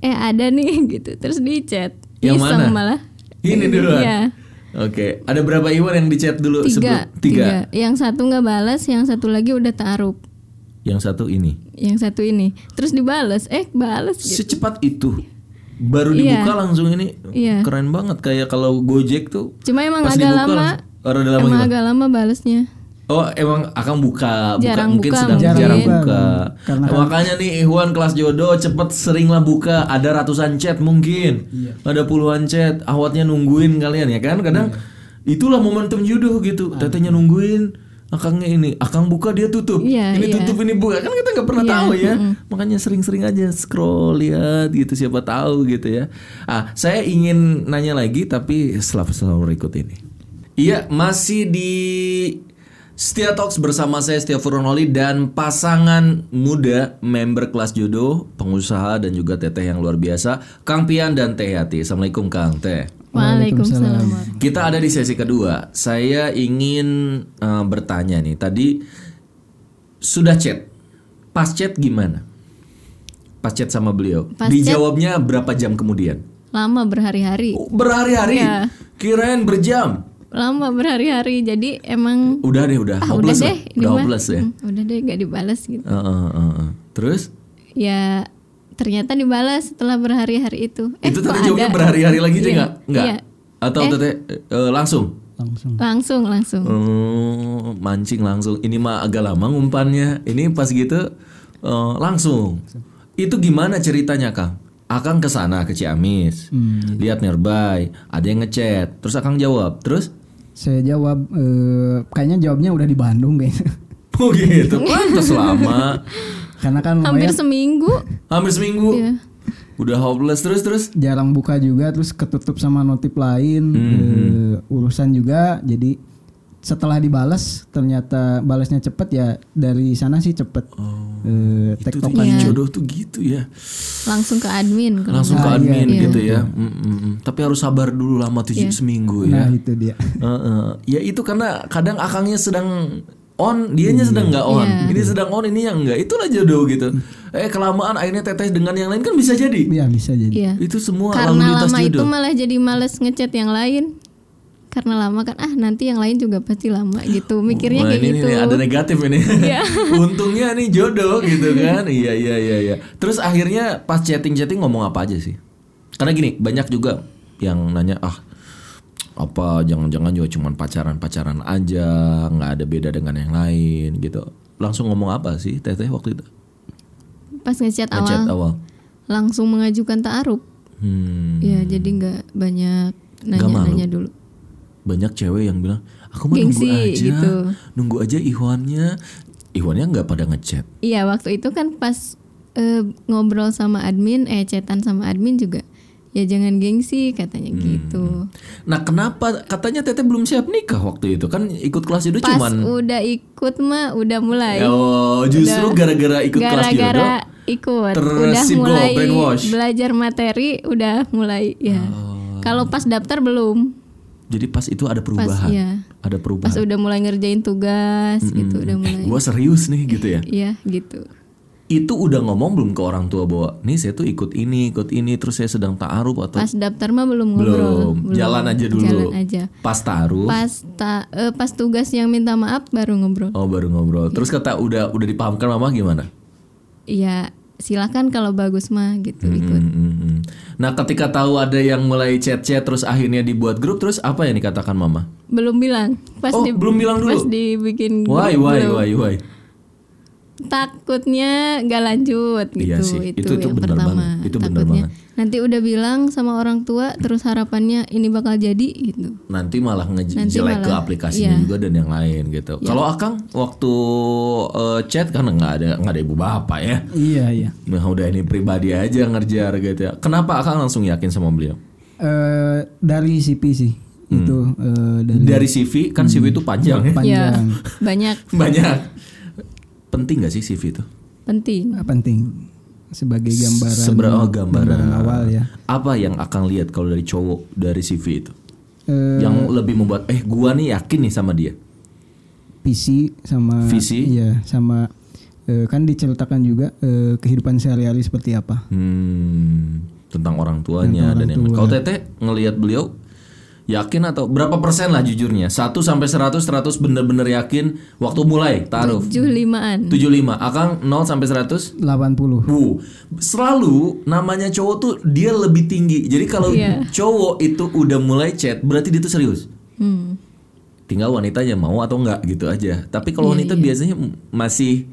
Speaker 3: eh ada nih gitu. Terus di chat.
Speaker 2: Yang
Speaker 3: Iseng
Speaker 2: mana?
Speaker 3: malah.
Speaker 2: ini dulu
Speaker 3: Iya.
Speaker 2: Oke, ada berapa Iwan yang di chat dulu?
Speaker 3: Tiga,
Speaker 2: sebelum- tiga.
Speaker 3: Yang satu nggak balas, yang satu lagi udah taruh.
Speaker 2: Yang satu ini.
Speaker 3: Yang satu ini. Terus dibales, eh balas gitu.
Speaker 2: Secepat itu. Baru
Speaker 3: Iya.
Speaker 2: dibuka langsung ini.
Speaker 3: Iya.
Speaker 2: Keren banget kayak kalau Gojek tuh.
Speaker 3: Cuma emang
Speaker 2: pas
Speaker 3: agak
Speaker 2: dibuka
Speaker 3: lama.
Speaker 2: langsung- Oh, rada lama
Speaker 3: Emang
Speaker 2: gimana?
Speaker 3: agak lama balesnya.
Speaker 2: Oh, emang akan buka, buka.
Speaker 3: Jarang
Speaker 2: mungkin
Speaker 3: buka,
Speaker 2: sedang
Speaker 1: mungkin.
Speaker 2: jarang
Speaker 1: Jarang
Speaker 2: buka. Ya,
Speaker 1: buka. Karena kan-
Speaker 2: Makanya nih Iwan kelas jodoh cepet seringlah buka. Ada ratusan chat mungkin. Ada puluhan chat. Awatnya nungguin kalian ya kan? Kadang itulah momentum jodoh gitu. Tetenya nungguin. Akangnya ini, akang buka dia tutup,
Speaker 3: Iya,
Speaker 2: ini
Speaker 3: iya.
Speaker 2: tutup ini buka kan kita nggak pernah
Speaker 3: Iya,
Speaker 2: tahu ya, makanya sering-sering aja scroll lihat gitu siapa tahu gitu ya. Ah, saya ingin nanya lagi tapi setelah setelah berikut ini. Iya, masih di Setia Talks bersama saya Setia Furunoli dan pasangan muda member kelas jodoh, pengusaha dan juga teteh yang luar biasa, Kang Pian dan Teh Yati. Assalamualaikum Kang Teh.
Speaker 3: Waalaikumsalam.
Speaker 2: Kita ada di sesi kedua. Saya ingin eh, bertanya nih. Tadi sudah chat. Pas chat gimana? Pas chat sama beliau.
Speaker 3: Pas chat-
Speaker 2: Dijawabnya berapa jam kemudian?
Speaker 3: Lama berhari-hari.
Speaker 2: Oh, Berhari-hari.
Speaker 3: Iya.
Speaker 2: Kirain berjam.
Speaker 3: Lama berhari-hari. Jadi emang
Speaker 2: Udah deh, udah.
Speaker 3: ah udah
Speaker 2: hopeless
Speaker 3: deh
Speaker 2: lah.
Speaker 3: ini
Speaker 2: Udah
Speaker 3: mah.
Speaker 2: hopeless ya.
Speaker 3: Hmm, Udah deh gak dibales gitu.
Speaker 2: Heeh, heeh, heeh. Terus
Speaker 3: Ya ternyata dibalas setelah berhari-hari itu. Eh,
Speaker 2: itu
Speaker 3: kok
Speaker 2: tadi jawabnya
Speaker 3: ada?
Speaker 2: berhari-hari lagi aja
Speaker 3: Iya,
Speaker 2: nggak? Nggak.
Speaker 3: iya.
Speaker 2: Atau teteh eh, langsung?
Speaker 1: langsung
Speaker 3: Langsung langsung.
Speaker 2: Oh, mancing langsung. Ini mah agak lama ngumpannya. Ini pas gitu eh, langsung. Itu gimana ceritanya, Kang? Akang ke sana ke Ciamis.
Speaker 1: Hmm.
Speaker 2: Lihat nearby, ada yang ngechat. Terus Akang jawab. Terus
Speaker 1: saya jawab eh, kayaknya jawabnya udah di Bandung kayaknya
Speaker 2: Oh gitu, pantas lama.
Speaker 1: karena kan
Speaker 3: Hampir
Speaker 1: lumayan
Speaker 3: seminggu.
Speaker 2: Hampir seminggu.
Speaker 3: Iya.
Speaker 2: Udah hopeless terus terus.
Speaker 1: jarang buka juga terus ketutup sama notif lain
Speaker 2: Hmm,
Speaker 1: eh, urusan juga jadi setelah dibalas ternyata balasnya cepet ya dari sana sih cepet Eh,
Speaker 2: Oh. Itu
Speaker 3: Iya.
Speaker 1: tektokan.
Speaker 2: nih, jodoh tuh gitu ya.
Speaker 3: Langsung ke admin kalau
Speaker 2: langsung ke
Speaker 1: Ah,
Speaker 2: admin
Speaker 3: iya.
Speaker 2: gitu ya. Mm, mm, mm. Tapi harus sabar dulu lama tujuh seminggu
Speaker 1: nah
Speaker 2: ya.
Speaker 1: itu dia
Speaker 2: Heeh. Ya itu karena kadang akangnya sedang on, dianya sedang
Speaker 3: Iya.
Speaker 2: nggak on. Ini sedang on, ini yang enggak. Itulah jodoh gitu. Eh kelamaan akhirnya teteh dengan yang lain kan bisa jadi.
Speaker 1: ya bisa jadi
Speaker 3: Iya.
Speaker 2: Itu semua lalu
Speaker 3: Karena
Speaker 2: lintas
Speaker 3: lama itu
Speaker 2: jodoh.
Speaker 3: malah jadi males ngechat yang lain. Karena lama kan ah nanti yang lain juga pasti lama gitu. Mikirnya
Speaker 2: Wah,
Speaker 3: kayak
Speaker 2: ini,
Speaker 3: gitu. Iya.
Speaker 2: ini ada negatif ini. Untungnya nih jodoh gitu kan. Iya iya iya iya. Terus akhirnya pas chatting-chatting ngomong apa aja sih? Karena gini, banyak juga yang nanya ah apa jangan-jangan juga cuman pacaran-pacaran aja, nggak ada beda dengan yang lain gitu. Langsung ngomong apa sih Teteh waktu itu?
Speaker 3: Pas ngechat
Speaker 2: Ngechat
Speaker 3: awal
Speaker 2: awal.
Speaker 3: langsung mengajukan taaruf.
Speaker 2: Hmm,
Speaker 3: Ya jadi nggak banyak nanya-nanya dulu.
Speaker 2: banyak cewek yang bilang, "Aku mau
Speaker 3: Gengsi,
Speaker 2: nunggu aja."
Speaker 3: gitu.
Speaker 2: Nunggu aja Ikhwannya. Ikhwannya nggak pada ngechat.
Speaker 3: Iya waktu itu kan pas eh, ngobrol sama admin, eh chatan sama admin juga. Ya jangan gengsi
Speaker 2: Hmm.
Speaker 3: katanya gitu.
Speaker 2: Nah kenapa katanya Teteh belum siap nikah waktu itu kan ikut kelas jodoh
Speaker 3: Pas
Speaker 2: cuman
Speaker 3: udah ikut mah udah mulai.
Speaker 2: oh justru gara-gara ikut kelas jodoh
Speaker 3: Gara-gara ikut udah
Speaker 2: tersibol,
Speaker 3: mulai
Speaker 2: brainwash. Oh.
Speaker 3: belajar materi udah mulai ya. Kalau pas daftar belum.
Speaker 2: jadi pas itu ada perubahan
Speaker 3: iya.
Speaker 2: ada
Speaker 3: Pas
Speaker 2: perubahan
Speaker 3: udah mulai ngerjain tugas gitu
Speaker 2: eh,
Speaker 3: udah mulai.
Speaker 2: gue serius nih gitu ya
Speaker 3: Iya gitu.
Speaker 2: itu udah ngomong belum ke orang tua bahwa nih saya tuh ikut ini ikut ini terus saya sedang taaruf atau
Speaker 3: Pas daftar mah belum ngobrol.
Speaker 2: belum jalan aja dulu
Speaker 3: Jalan aja.
Speaker 2: pas taruh
Speaker 3: Pas ta- eh, pas tugas yang minta maaf baru ngobrol.
Speaker 2: oh baru ngobrol terus kata udah udah dipahamkan mama gimana
Speaker 3: Iya, silakan kalau bagus mah gitu ikut.
Speaker 2: Mm, mm, mm. Nah, ketika tahu ada yang mulai chat-chat terus akhirnya dibuat grup terus apa yang dikatakan mama?
Speaker 3: belum bilang pas
Speaker 2: Oh,
Speaker 3: di-
Speaker 2: belum bilang dulu?
Speaker 3: pas dibikin
Speaker 2: Why,
Speaker 3: grup
Speaker 2: why,
Speaker 3: belum.
Speaker 2: why, why?
Speaker 3: takutnya gak lanjut gitu
Speaker 2: Iya sih,
Speaker 3: itu,
Speaker 2: itu- itu
Speaker 3: yang
Speaker 2: benar
Speaker 3: pertama
Speaker 2: banget, itu benar
Speaker 3: takutnya
Speaker 2: banget.
Speaker 3: nanti udah bilang sama orang tua terus harapannya ini bakal jadi gitu
Speaker 2: Nanti malah
Speaker 3: Nanti
Speaker 2: ngejelek ke
Speaker 3: malah,
Speaker 2: aplikasinya
Speaker 3: iya.
Speaker 2: juga dan yang lain gitu. Kalau Akang waktu eh, chat kan nggak ada nggak ada ibu bapak ya.
Speaker 1: Iya iya.
Speaker 2: Nah, udah ini pribadi aja ngerjar gitu ya. Kenapa Akang langsung yakin sama beliau?
Speaker 1: Eh, dari CP sih itu eh, dari
Speaker 2: Hmm. Dari CV kan CV
Speaker 1: Hmm.
Speaker 2: itu panjang ya.
Speaker 3: ya
Speaker 1: panjang
Speaker 3: banyak
Speaker 2: Banyak. Penting gak sih CV itu?
Speaker 3: penting
Speaker 1: eh, penting sebagai gambaran
Speaker 2: Seberapa oh, gambaran,
Speaker 1: gambaran awal ya.
Speaker 2: Apa yang Akang lihat kalau dari cowok dari CV itu?
Speaker 1: Eh,
Speaker 2: yang lebih membuat eh gua nih yakin nih sama dia.
Speaker 1: visi sama
Speaker 2: Visi?
Speaker 1: Iya, sama eh, kan diceritakan juga eh, kehidupan sehari-hari seperti apa.
Speaker 2: Hmm, tentang orang tuanya dan yang lain. Kalau Teteh ngelihat beliau yakin atau berapa persen lah jujurnya? 1 sampai 100 100 bener-bener yakin waktu mulai taruh.
Speaker 3: tujuh limaan
Speaker 2: 75. Akang 0 sampai 100?
Speaker 1: 80.
Speaker 2: Bu, selalu namanya cowok tuh dia lebih tinggi. Jadi kalau
Speaker 3: Iya.
Speaker 2: cowok itu udah mulai chat, berarti dia tuh serius.
Speaker 3: Hmm.
Speaker 2: tinggal wanitanya mau atau enggak gitu aja. Tapi kalau wanita biasanya m- masih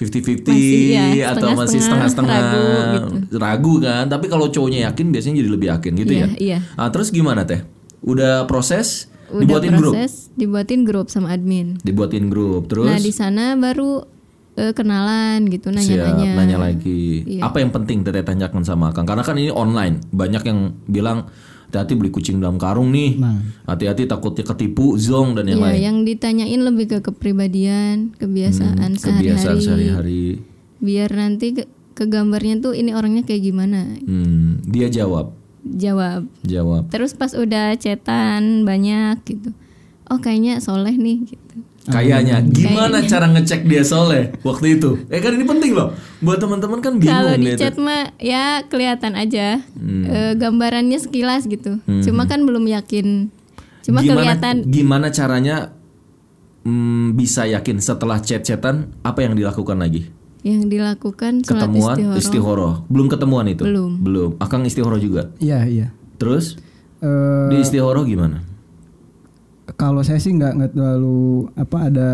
Speaker 2: 50-50
Speaker 3: Iya, Masih, ya,
Speaker 2: atau masih
Speaker 3: setengah-setengah,
Speaker 2: setengah-setengah ragu,
Speaker 3: ragu gitu.
Speaker 2: kan. Tapi kalau cowoknya yakin biasanya jadi lebih yakin gitu
Speaker 3: Iya,
Speaker 2: ya.
Speaker 3: iya.
Speaker 2: Ah, terus gimana teh? Udah proses
Speaker 3: udah
Speaker 2: dibuatin grup,
Speaker 3: proses dibuatin grup sama admin
Speaker 2: dibuatin grup. Terus
Speaker 3: nah di sana baru eh, kenalan gitu
Speaker 2: siap,
Speaker 3: nanya-nanya
Speaker 2: ya, nanya lagi.
Speaker 3: Iya.
Speaker 2: Apa yang penting teteh tanyakan sama Kang? Karena kan ini online, banyak yang bilang hati-hati beli kucing dalam karung nih.
Speaker 1: Nah,
Speaker 2: Hati-hati takutnya ketipu, zong dan yang
Speaker 3: Iya,
Speaker 2: lain. Hmm,
Speaker 3: yang ditanyain lebih ke kepribadian kebiasaan
Speaker 2: Kebiasaan
Speaker 3: sehari-hari
Speaker 2: sehari-hari.
Speaker 3: biar nanti ke, ke gambarnya tuh ini orangnya kayak gimana
Speaker 2: Hmm, dia jawab,
Speaker 3: jawab
Speaker 2: jawab.
Speaker 3: terus pas udah cetan banyak gitu oh kayaknya soleh nih gitu
Speaker 2: Kayaknya gimana cara ngecek dia soleh waktu itu? Eh kan ini penting loh. Buat teman-teman kan
Speaker 3: kalau
Speaker 2: bingung
Speaker 3: di
Speaker 2: nih Hmm.
Speaker 3: chat mah ya kelihatan aja E, gambarannya sekilas gitu cuma kan belum yakin cuma
Speaker 2: gimana
Speaker 3: kelihatan
Speaker 2: gimana caranya mm, bisa yakin setelah chat-chatan apa yang dilakukan lagi?
Speaker 3: yang dilakukan sholat
Speaker 2: Ketemuan
Speaker 3: istihoroh.
Speaker 2: istihoroh. Belum ketemuan itu?
Speaker 3: Belum.
Speaker 2: Belum. Akang istihoroh juga.
Speaker 1: Iya, iya.
Speaker 2: Terus
Speaker 1: Eh,
Speaker 2: di istihoroh gimana?
Speaker 1: kalau saya sih nggak nggak terlalu apa ada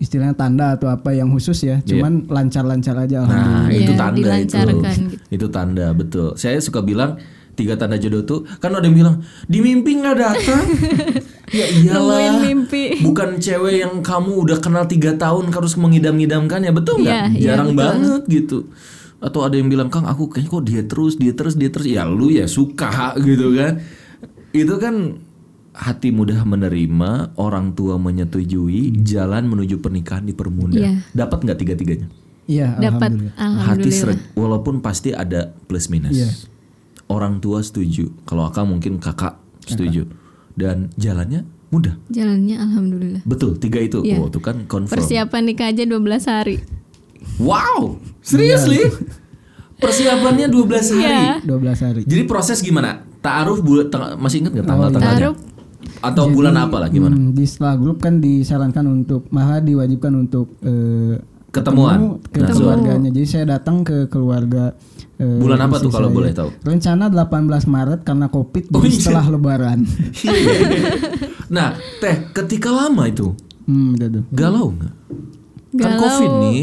Speaker 1: istilahnya tanda atau apa yang khusus ya. Cuman lancar-lancar aja alhamdulillah.
Speaker 2: Iya. Nah, itu
Speaker 3: Iya,
Speaker 2: tanda itu.
Speaker 3: dilancarkan gitu.
Speaker 2: Itu tanda, betul. Saya suka bilang tiga tanda jodoh tuh kan ada yang bilang di mimpi nggak datang. ya
Speaker 3: Nungguin
Speaker 2: iyalah.
Speaker 3: mimpi.
Speaker 2: Bukan cewek yang kamu udah kenal tiga tahun kan harus mengidam-idamkan ya betul nggak?
Speaker 3: Iya, iya,
Speaker 2: Jarang
Speaker 3: betul.
Speaker 2: banget gitu. Atau ada yang bilang Kang aku kayaknya kok dia terus dia terus dia terus ya lu ya suka gitu kan. Itu kan hati mudah menerima, orang tua menyetujui, jalan menuju pernikahan dipermudah.
Speaker 3: Iya.
Speaker 2: Dapat nggak tiga-tiganya?
Speaker 1: Iya,
Speaker 3: dapat
Speaker 1: alhamdulillah.
Speaker 2: hati
Speaker 3: alhamdulillah
Speaker 2: seret walaupun pasti ada plus minus
Speaker 1: Iya.
Speaker 2: orang tua setuju kalau akang mungkin kakak setuju dan jalannya mudah
Speaker 3: jalannya alhamdulillah
Speaker 2: betul tiga itu
Speaker 3: Iya.
Speaker 2: wow itu kan confirm
Speaker 3: persiapan nikah aja 12 hari
Speaker 2: wow seriously persiapannya 12 hari
Speaker 3: Iya.
Speaker 1: 12 hari.
Speaker 2: jadi proses gimana taaruf bulan teng- masih ingat nggak tanggal tanggalnya
Speaker 3: Taruh
Speaker 2: atau bulan apa lah gimana
Speaker 1: Hmm, di setelah grup kan disarankan untuk malah diwajibkan untuk eh,
Speaker 2: ketemuan Nah,
Speaker 1: ketemu ke keluarganya. Jadi saya datang ke keluarga eh,
Speaker 2: bulan apa
Speaker 1: istri
Speaker 2: tuh kalau
Speaker 1: saya.
Speaker 2: boleh tahu
Speaker 1: Rencana 18 Maret karena Covid
Speaker 2: Oh,
Speaker 1: jadi
Speaker 2: iya.
Speaker 1: setelah lebaran.
Speaker 2: nah teh ketika lama itu
Speaker 1: Hmm, gitu tuh.
Speaker 2: galau nggak kan
Speaker 3: Galau.
Speaker 2: covid nih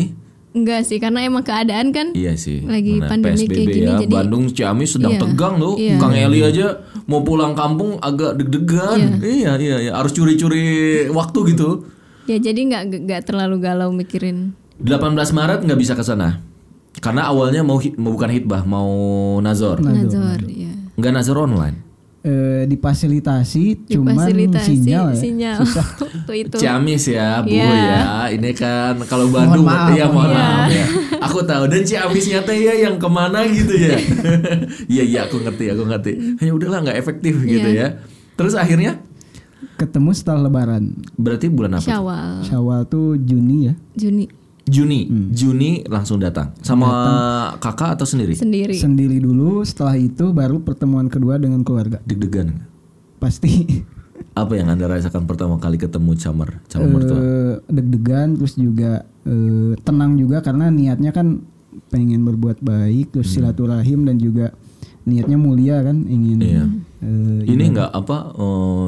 Speaker 3: enggak sih karena emang keadaan kan
Speaker 2: Iya sih.
Speaker 3: Lagi
Speaker 2: Benar.
Speaker 3: pandemi
Speaker 2: PSBB
Speaker 3: kayak gini,
Speaker 2: ya.
Speaker 3: jadi-
Speaker 2: Bandung Ciamis sedang
Speaker 3: Iya.
Speaker 2: tegang loh.
Speaker 3: Iya.
Speaker 2: Kang Eli aja mau pulang kampung agak deg-degan. Iya, iya, iya. harus curi-curi waktu gitu.
Speaker 3: ya jadi nggak nggak terlalu galau mikirin
Speaker 2: 18 Maret nggak bisa ke sana. Karena awalnya mau, hi- mau bukan hitbah, mau nazor.
Speaker 3: nazar ya
Speaker 2: Nggak nazor online.
Speaker 1: Eh, difasilitasi, cuman
Speaker 3: difasilitasi
Speaker 1: sinyal
Speaker 3: sinyal,
Speaker 1: ya.
Speaker 3: waktu itu
Speaker 2: Ciamis ya, Bu
Speaker 3: Iya.
Speaker 2: ya. Ini kan kalau Bandung
Speaker 1: maaf,
Speaker 2: iya
Speaker 1: mohon
Speaker 2: mohon maaf ya. Aku tahu dan Ciamisnya teh ya yang kemana gitu ya. Iya iya aku ngerti, aku ngerti. Ya udahlah nggak efektif
Speaker 3: Iya.
Speaker 2: gitu ya. Terus akhirnya
Speaker 1: Ketemu setelah lebaran.
Speaker 2: Berarti bulan apa? tuh?
Speaker 3: Syawal
Speaker 1: Syawal tuh Juni ya.
Speaker 3: Juni
Speaker 2: Juni. Juni langsung datang. Sama kakak atau sendiri?
Speaker 3: sendiri
Speaker 1: Sendiri dulu, setelah itu baru pertemuan kedua dengan keluarga.
Speaker 2: Deg-degan. nggak?
Speaker 1: Pasti
Speaker 2: Apa yang Anda rasakan pertama kali ketemu Camar, calon mertua?
Speaker 1: eh, deg-degan terus juga eh,
Speaker 2: Hmm.
Speaker 1: tenang juga karena niatnya kan pengen berbuat baik terus silaturahim dan juga niatnya mulia kan ingin
Speaker 2: Iya.
Speaker 1: eh,
Speaker 2: Ini nggak apa eh,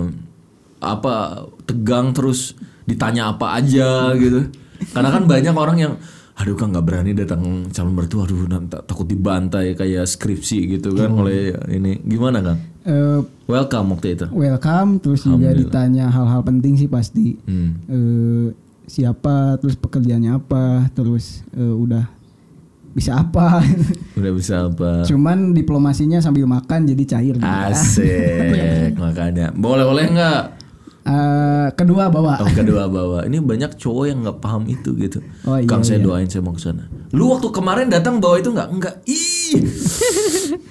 Speaker 2: apa tegang terus ditanya apa aja gitu. Karena kan banyak orang yang aduh kan nggak berani datang calon mertua aduh nanti takut dibantai kayak skripsi gitu kan oleh ini gimana Kang?
Speaker 1: eh,
Speaker 2: Welcome waktu itu.
Speaker 1: Oh. welcome terus juga ditanya hal-hal penting sih pasti
Speaker 2: Hmm.
Speaker 1: Eh, siapa terus pekerjaannya apa terus eh, udah bisa apa
Speaker 2: Udah bisa apa?
Speaker 1: cuman diplomasinya sambil makan jadi cair gitu. Iya.
Speaker 2: Asik makanya. Boleh boleh nggak?
Speaker 1: Eh, kedua bawa
Speaker 2: Oh, kedua bawa. Ini banyak cowok yang nggak paham itu gitu.
Speaker 1: Oh, iya,
Speaker 2: Kang saya doain saya mau ke sana. Lu waktu kemarin datang bawa itu nggak? Nggak. Ih.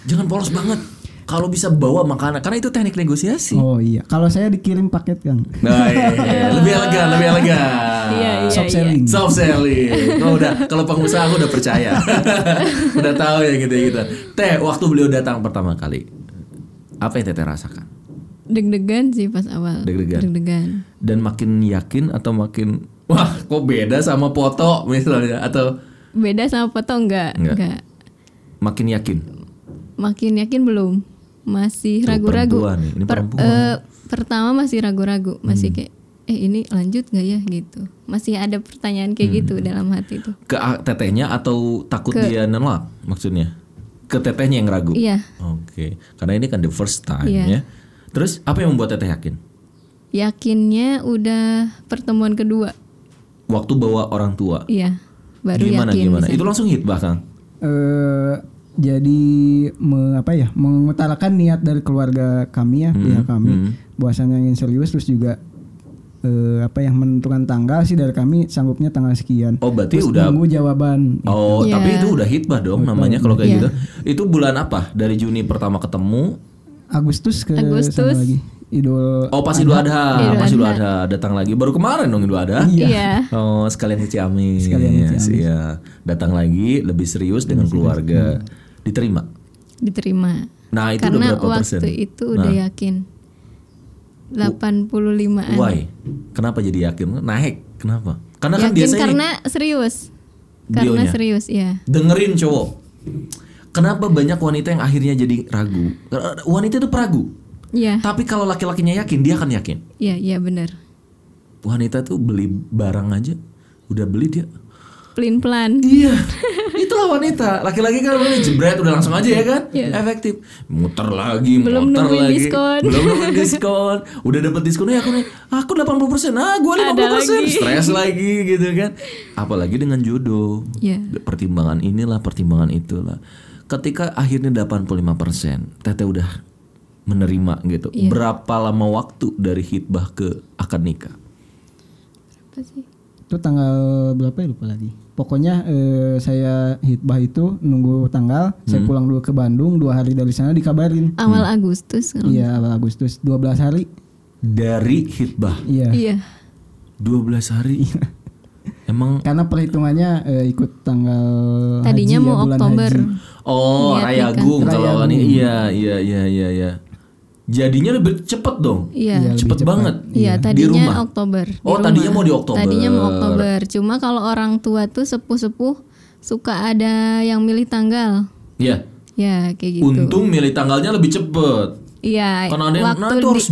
Speaker 2: Jangan polos banget. Kalau bisa bawa makanan karena itu teknik negosiasi.
Speaker 1: oh iya kalau saya dikirim paket kang
Speaker 2: Nah, iya. lebih elegan, lebih elegan.
Speaker 5: Iya, iya,
Speaker 1: Soft selling.
Speaker 2: Soft selling. Oh, udah kalau pengusaha aku udah percaya. udah tahu ya gitu-gitu. Teh, waktu beliau datang pertama kali. Apa yang Teteh rasakan?
Speaker 3: Deg-degan sih pas awal.
Speaker 2: Deg-degan.
Speaker 3: Deg-degan.
Speaker 2: dan makin yakin atau makin wah kok beda sama foto misalnya atau
Speaker 3: Beda sama foto enggak?
Speaker 2: Enggak.
Speaker 3: Enggak.
Speaker 2: makin yakin
Speaker 3: Makin yakin belum. Masih
Speaker 2: Tuh,
Speaker 3: ragu-ragu.
Speaker 2: perempuan nih, ini perempuan. Hmm.
Speaker 3: eh, pertama masih ragu-ragu, masih kayak eh ini lanjut nggak ya gitu. Masih ada pertanyaan kayak
Speaker 2: Hmm.
Speaker 3: gitu dalam hati itu.
Speaker 2: ke a- tetehnya atau takut dia nolak maksudnya ke tetehnya yang ragu
Speaker 3: Iya.
Speaker 2: oke karena ini kan the first time ya
Speaker 3: Iya.
Speaker 2: terus apa yang membuat teteh yakin
Speaker 3: Yakinnya udah pertemuan kedua.
Speaker 2: waktu bawa orang tua
Speaker 3: Iya. Baru
Speaker 2: gimana
Speaker 3: yakin.
Speaker 2: gimana
Speaker 3: bisa.
Speaker 2: itu langsung hit bahkan
Speaker 1: eh jadi me- apa ya mengutarakan niat dari keluarga kami
Speaker 2: Mm-hmm.
Speaker 1: ya pihak kami bahwasanya ingin serius terus juga eh, apa ya menentukan tanggal sih dari kami sanggupnya tanggal sekian
Speaker 2: oh berarti
Speaker 1: terus
Speaker 2: udah
Speaker 1: nunggu jawaban
Speaker 2: Oh,
Speaker 3: Iya.
Speaker 2: tapi itu udah hitbah dong namanya kalau kayak gitu. Itu bulan apa? Dari Juni pertama ketemu.
Speaker 1: Agustus ke
Speaker 3: Agustus.
Speaker 1: sana lagi Idul
Speaker 2: Oh, pasti Idul Adha. Pas Idul Adha datang lagi. Baru kemarin dong Idul Adha.
Speaker 3: Iya.
Speaker 2: Oh, sekalian ke Ciamis.
Speaker 1: Sekalian ke Ciamis.
Speaker 2: Iya. Datang lagi lebih serius Hmm. dengan keluarga. Diterima.
Speaker 3: Diterima.
Speaker 2: Nah, itu udah
Speaker 3: Karena
Speaker 2: berapa
Speaker 3: waktu
Speaker 2: persen? Nah,
Speaker 3: itu udah yakin. 85-an.
Speaker 2: Why? Kenapa jadi yakin? Naik. Kenapa? Karena kan
Speaker 3: yakin
Speaker 2: biasanya
Speaker 3: karena serius. Karena
Speaker 2: Dionya.
Speaker 3: serius, ya.
Speaker 2: dengerin cowok. Kenapa banyak wanita yang akhirnya jadi ragu? Wanita itu peragu.
Speaker 3: Iya,
Speaker 2: Tapi kalau laki-lakinya yakin, dia akan yakin.
Speaker 3: iya, iya benar.
Speaker 2: Wanita tuh beli barang aja, udah beli dia.
Speaker 3: Pelin-pelan.
Speaker 2: Iya, itulah wanita. Laki-laki kan beli jebret udah langsung aja ya kan? Efektif. Muter lagi,
Speaker 3: Iya. Belum
Speaker 2: muter
Speaker 3: nungguin
Speaker 2: lagi.
Speaker 3: diskon.
Speaker 2: Belum nungguin diskon. Udah dapet diskonnya aku nih. Aku 80%. Ah, gua 50%. Stres lagi gitu kan. Apalagi dengan jodoh.
Speaker 3: Iya.
Speaker 2: Pertimbangan inilah, pertimbangan itulah. Ketika akhirnya 85%, Teteh udah menerima gitu.
Speaker 3: Iya.
Speaker 2: Berapa lama waktu dari hitbah ke akad nikah?
Speaker 3: Apa sih?
Speaker 1: itu tanggal berapa ya lupa lagi pokoknya eh, saya hitbah itu nunggu tanggal
Speaker 2: Mm-hmm.
Speaker 1: saya pulang dulu ke Bandung dua hari dari sana dikabarin
Speaker 3: Awal
Speaker 2: Hmm.
Speaker 3: Agustus.
Speaker 2: Ya.
Speaker 3: kalau-
Speaker 1: iya awal Agustus 12 hari
Speaker 2: Dari hitbah
Speaker 1: iya
Speaker 3: Iya.
Speaker 2: 12 hari. Emang
Speaker 1: Karena perhitungannya eh, ikut tanggal haji ya,
Speaker 3: Tadinya mau
Speaker 1: bulan
Speaker 3: Oktober.
Speaker 1: haji.
Speaker 2: oh
Speaker 3: Niat
Speaker 2: Raya
Speaker 3: nikah.
Speaker 2: Agung kalau ini iya iya iya iya iya. Jadinya lebih cepet dong.
Speaker 3: Iya.
Speaker 1: Iya, lebih
Speaker 2: cepet banget.
Speaker 3: Iya,
Speaker 2: di rumah.
Speaker 3: tadinya Oktober. di
Speaker 2: Oh, tadinya
Speaker 3: rumah.
Speaker 2: mau di Oktober.
Speaker 3: Tadinya mau Oktober. Cuma kalau orang tua tuh sepuh-sepuh suka ada yang milih tanggal.
Speaker 2: Iya.
Speaker 3: Ya, kayak gitu.
Speaker 2: Untung milih tanggalnya lebih cepet.
Speaker 3: Iya,
Speaker 2: Karena ada yang nah,
Speaker 3: waktu
Speaker 2: itu harus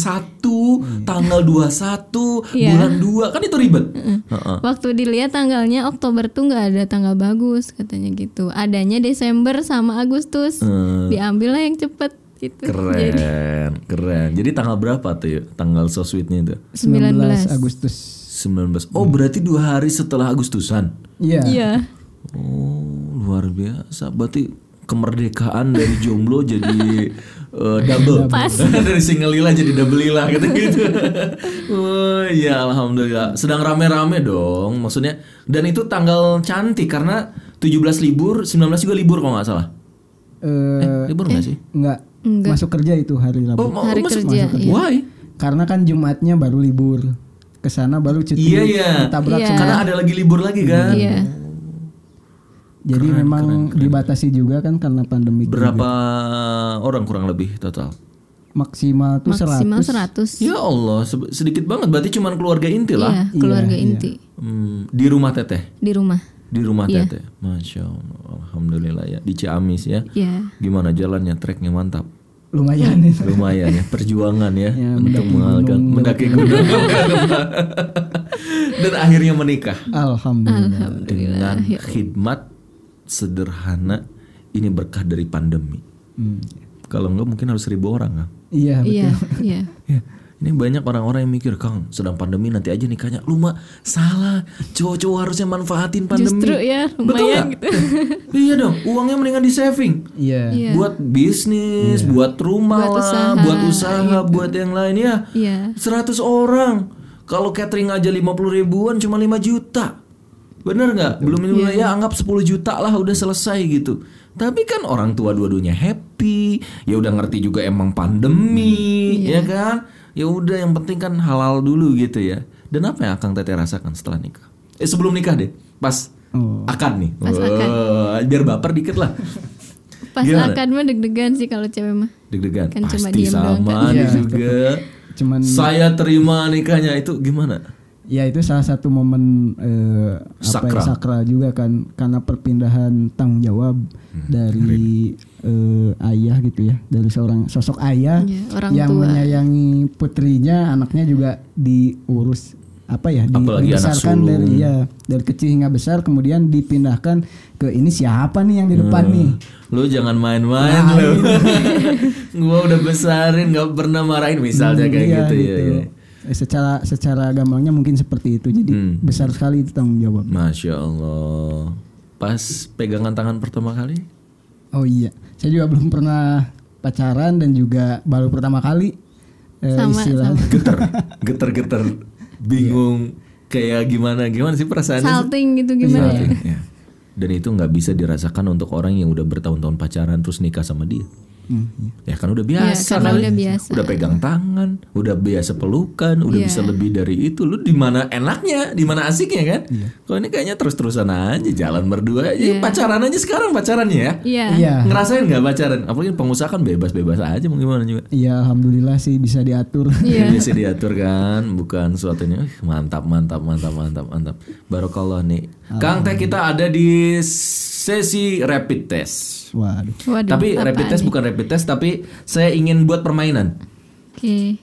Speaker 2: 2021, tanggal 21,
Speaker 3: Iya.
Speaker 2: bulan 2. Kan itu ribet. Heeh.
Speaker 3: Waktu dilihat tanggalnya Oktober tuh nggak ada tanggal bagus katanya gitu. Adanya Desember sama Agustus. Diambil lah yang cepet gitu.
Speaker 2: Hmm. Keren, keren. Jadi tanggal berapa tuh ya? Tanggal so sweetnya itu?
Speaker 1: 19 Agustus.
Speaker 2: 19. Oh, berarti dua hari setelah Agustusan.
Speaker 1: Iya.
Speaker 3: Iya.
Speaker 2: Oh, luar biasa. Berarti kemerdekaan dari jomblo jadi eh, double. dari single lila jadi double lila gitu gitu. oh, iya alhamdulillah. Sedang rame-rame dong maksudnya. Dan itu tanggal cantik karena 17 libur, 19 juga libur kalau nggak salah.
Speaker 1: Eh, iya.
Speaker 2: libur nggak sih?
Speaker 1: enggak. Masuk kerja itu hari Rabu.
Speaker 2: ma- masuk- masuk- Why?
Speaker 1: Karena kan Jumatnya baru libur. Ke sana baru cuti.
Speaker 2: Iya, iya.
Speaker 1: Ditabrak
Speaker 3: Iya.
Speaker 1: semua.
Speaker 2: Karena ada lagi libur lagi kan.
Speaker 3: Iya.
Speaker 1: Jadi memang dibatasi juga kan karena pandemi.
Speaker 2: Berapa orang kurang lebih total?
Speaker 1: Maksimal tuh
Speaker 3: Maksimal
Speaker 1: 100.
Speaker 3: 100.
Speaker 2: Ya Allah, se-
Speaker 1: Iya.
Speaker 2: sedikit banget. Berarti cuman keluarga inti lah.
Speaker 3: Iya, keluarga inti
Speaker 2: Hmm, di rumah teteh.
Speaker 3: di rumah.
Speaker 2: Di rumah
Speaker 3: Iya.
Speaker 2: Tete. Masya Allah. Alhamdulillah ya. Di Ciamis ya.
Speaker 3: Iya.
Speaker 2: Gimana jalannya? Treknya mantap.
Speaker 1: lumayan itu.
Speaker 2: Lumayan ya. Perjuangan ya.
Speaker 1: Ya,
Speaker 2: untuk
Speaker 1: mendaki
Speaker 2: mengalahkan
Speaker 1: gunung,
Speaker 2: mendaki gunung. Dan akhirnya menikah.
Speaker 1: Alhamdulillah.
Speaker 2: Dengan
Speaker 3: ya.
Speaker 2: khidmat sederhana. Ini berkah dari pandemi.
Speaker 1: Hmm.
Speaker 2: Kalau enggak mungkin harus seribu orang kan.
Speaker 1: Iya betul.
Speaker 3: Ah. Iya, iya.
Speaker 2: Ya, ini banyak orang-orang yang mikir, Kang, sedang pandemi nanti aja nikahnya. Lu mah salah. Cowok-cowok harusnya manfaatin pandemi.
Speaker 3: Justru ya,
Speaker 2: Betul
Speaker 3: lumayan
Speaker 2: nggak? iya dong, uangnya mendingan di saving.
Speaker 1: Iya.
Speaker 3: Iya.
Speaker 2: Buat bisnis, buat rumah
Speaker 3: Buat
Speaker 2: lah,
Speaker 3: usaha, gitu.
Speaker 2: buat usaha, buat yang lain ya.
Speaker 3: Iya.
Speaker 2: 100 orang. Kalau catering aja 50 ribuan cuma 5 juta. Bener nggak? Belum minum ya
Speaker 3: Iya.
Speaker 2: anggap 10 juta lah udah selesai gitu. Tapi kan orang tua dua-duanya happy, ya udah ngerti juga emang pandemi, ya
Speaker 3: Iya.
Speaker 2: kan? Ya udah yang penting kan halal dulu gitu ya. Dan apa yang akan Tete rasakan setelah nikah? Eh sebelum nikah deh, pas
Speaker 1: Oh.
Speaker 2: akan nih.
Speaker 3: Pas akad.
Speaker 2: Wah, biar baper dikit lah.
Speaker 3: Pas
Speaker 2: Gimana?
Speaker 3: akad mah deg-degan sih kalau cewek mah.
Speaker 2: Deg-degan.
Speaker 3: Kan cuma
Speaker 2: Pasti
Speaker 3: diem doang
Speaker 2: sama
Speaker 1: kan.
Speaker 2: nih
Speaker 1: Iya.
Speaker 2: juga.
Speaker 1: Cuman
Speaker 2: Saya terima nikahnya itu gimana?
Speaker 1: ya itu salah satu momen eh, apa ya,
Speaker 2: Sakral.
Speaker 1: sakral juga kan karena perpindahan tanggung jawab
Speaker 2: Hmm.
Speaker 1: dari eh, ayah gitu ya, dari seorang sosok ayah
Speaker 3: Iya, orang
Speaker 1: yang
Speaker 3: tua.
Speaker 1: menyayangi putrinya, anaknya juga diurus apa ya
Speaker 2: Apalagi anak
Speaker 1: dibesarkan
Speaker 2: sulung.
Speaker 1: dari ya dari kecil hingga besar kemudian dipindahkan ke ini siapa nih yang di depan
Speaker 2: Hmm.
Speaker 1: nih
Speaker 2: Lu jangan main-main lu. gua udah besarin nggak pernah marahin misalnya kayak
Speaker 1: Iya,
Speaker 2: gitu, ya. ya.
Speaker 1: Eh, secara secara gampangnya mungkin seperti itu jadi
Speaker 2: Hmm.
Speaker 1: besar sekali itu tanggung jawab
Speaker 2: Masya Allah. Pas pegangan tangan pertama kali?
Speaker 1: oh iya saya juga belum pernah pacaran dan juga baru pertama kali eh,
Speaker 3: Sama,
Speaker 1: istilahnya
Speaker 2: Geter, geter-geter, bingung kayak gimana gimana sih perasaannya? sih?
Speaker 3: Salting gitu gimana ya?
Speaker 2: Salting, ya. Dan itu nggak bisa dirasakan untuk orang yang udah bertahun-tahun pacaran terus nikah sama dia.
Speaker 1: Hmm, iya.
Speaker 2: Ya kan udah biasa
Speaker 3: karena
Speaker 2: kali.
Speaker 3: udah biasa.
Speaker 2: Udah pegang tangan, udah biasa pelukan, udah
Speaker 3: Iya.
Speaker 2: bisa lebih dari itu. Lu di mana enaknya, di mana asiknya kan? Kalau ini kayaknya terus-terusan aja jalan berdua aja, pacaran aja sekarang pacarannya ya.
Speaker 3: Iya.
Speaker 1: iya
Speaker 2: Ngerasain nggak pacaran? Apalagi pengusaha kan bebas-bebas aja mau gimana juga.
Speaker 1: iya alhamdulillah sih bisa diatur
Speaker 3: Iya.
Speaker 2: Ini sih diatur kan, bukan suatunya "Ih, mantap mantap mantap mantap mantap. Barokallah nih. Kang Teh kita ada di sesi rapid test.
Speaker 1: waduh
Speaker 3: Waduh.
Speaker 2: tapi
Speaker 3: apaan
Speaker 2: rapid test
Speaker 3: nih?
Speaker 2: bukan rapid test tapi saya ingin buat permainan.
Speaker 3: Oke.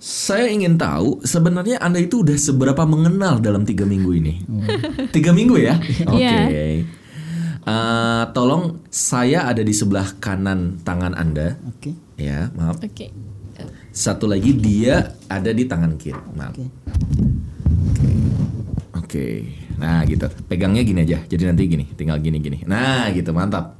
Speaker 2: Saya ingin tahu sebenarnya Anda itu udah seberapa mengenal dalam tiga minggu ini? Tiga minggu ya? Oke.
Speaker 3: Oh. Iya.
Speaker 2: Eh, tolong saya ada di sebelah kanan tangan Anda.
Speaker 1: oke
Speaker 2: Ya, maaf.
Speaker 3: Oke.
Speaker 2: Satu lagi dia ada di tangan kiri. Maaf. Oke.
Speaker 1: Oke.
Speaker 2: Nah, gitu. Pegangnya gini aja. Jadi nanti gini, tinggal gini-gini. Nah, gitu. Mantap.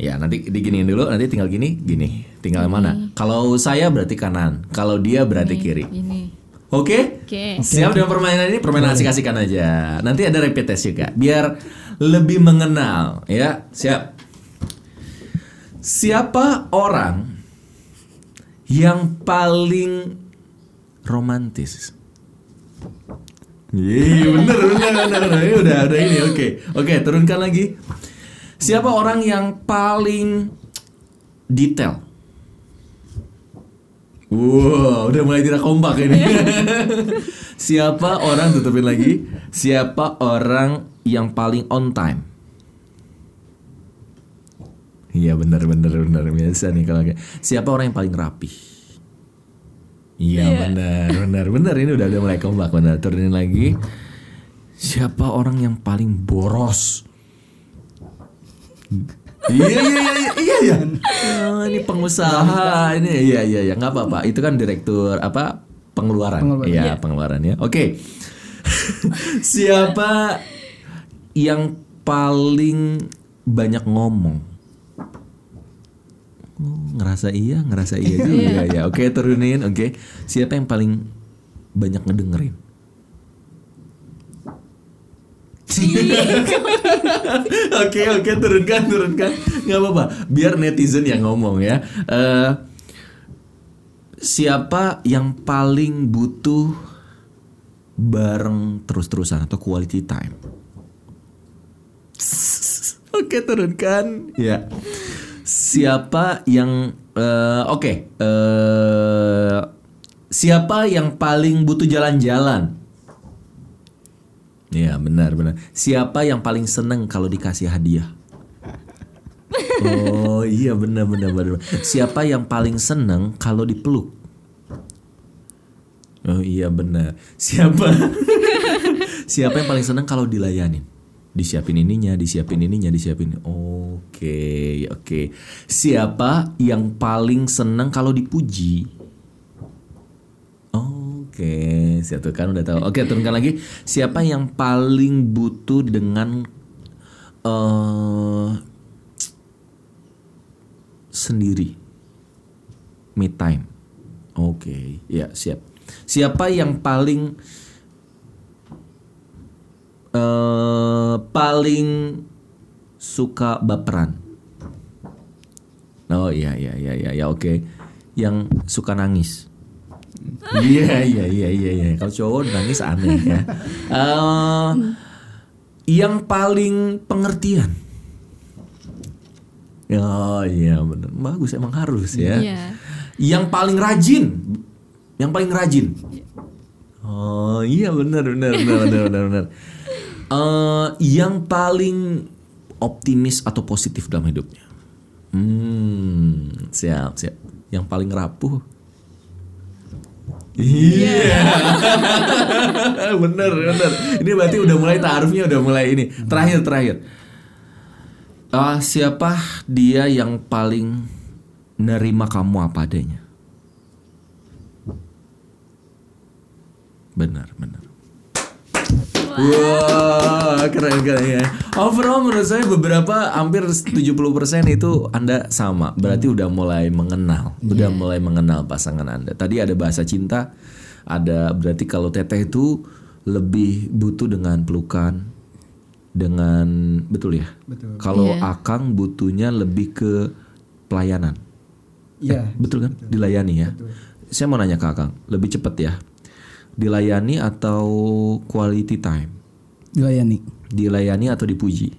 Speaker 2: Ya, nanti diginiin dulu, nanti tinggal gini, gini. Tinggal mana? Kalau saya berarti kanan, kalau dia berarti kiri.
Speaker 3: Ini.
Speaker 2: Oke?
Speaker 3: Oke.
Speaker 2: Siap dengan permainan ini, permainan asik-asikan aja. Nanti ada rapid test juga, biar lebih mengenal, ya. Siap. Siapa orang yang paling romantis? Iya, bener, bener, bener, bener. Ini udah, udah ini, oke, oke, turunkan lagi. Siapa orang yang paling detail? Wow, udah mulai tidak kompak ini. Siapa orang tutupin lagi? Siapa orang yang paling on time? Iya benar benar benar biasa nih kalau kayak. Siapa orang yang paling rapi? Iya benar benar benar ini udah udah mulai kompak benar turunin lagi. Siapa orang yang paling boros? iya iya iya iya, iya iya. Oh, ini pengusaha ini iya iya iya nggak apa-apa itu kan direktur apa pengeluaran, iya pengeluaran ya oke siapa yang paling banyak ngomong Oh, ngerasa iya ngerasa iya juga ya oke turunin oke siapa yang paling banyak ngedengerin Oke oke turunkan turunkan nggak apa-apa biar netizen yang ngomong ya Eh, siapa yang paling butuh bareng terus-terusan atau quality time oke turunkan ya siapa yang eh, oke eh, siapa yang paling butuh jalan-jalan Iya benar benar. Siapa yang paling seneng kalau dikasih hadiah? Oh iya benar benar benar. Siapa yang paling seneng kalau dipeluk? Oh iya benar. Siapa? Siapa yang paling seneng kalau dilayanin? Disiapin ininya, disiapin ininya, disiapin. Oke, oke. Siapa yang paling seneng kalau dipuji? Oke, satu kan udah tahu. Oke, turunkan lagi. Siapa yang paling butuh dengan eh sendiri? Me time. Oke, ya siap. Siapa yang paling eh paling suka baperan? Oh iya iya iya iya ya, oke. Yang suka nangis. Iya iya iya iya iya. Kalau cowok nangis aneh ya. Eh, yang paling pengertian. Oh iya benar. Bagus emang harus ya.
Speaker 3: Iya.
Speaker 2: Yang paling rajin. Yang paling rajin. Oh iya benar benar benar benar benar. benar. Eh, yang paling optimis atau positif dalam hidupnya. Hmm, siap siap. Yang paling rapuh. Iya. bener bener. Iya. Ini berarti udah mulai taarufnya udah mulai ini. Terakhir terakhir. Ah, siapa dia yang paling nerima kamu apa adanya? Benar, benar. Wah, keren keren ya. Overall menurut saya beberapa hampir 70% itu Anda sama. Berarti udah mulai mengenal, udah mulai mengenal pasangan Anda. Tadi ada bahasa cinta, ada berarti kalau teteh itu lebih butuh dengan pelukan dengan betul ya?
Speaker 1: Betul.
Speaker 2: Kalau
Speaker 3: Iya.
Speaker 2: Akang butuhnya lebih ke pelayanan.
Speaker 1: Iya.
Speaker 2: Betul kan? Dilayani ya. Saya mau nanya ke Akang, lebih cepat ya. Dilayani atau quality time?
Speaker 1: Dilayani.
Speaker 2: Dilayani atau dipuji?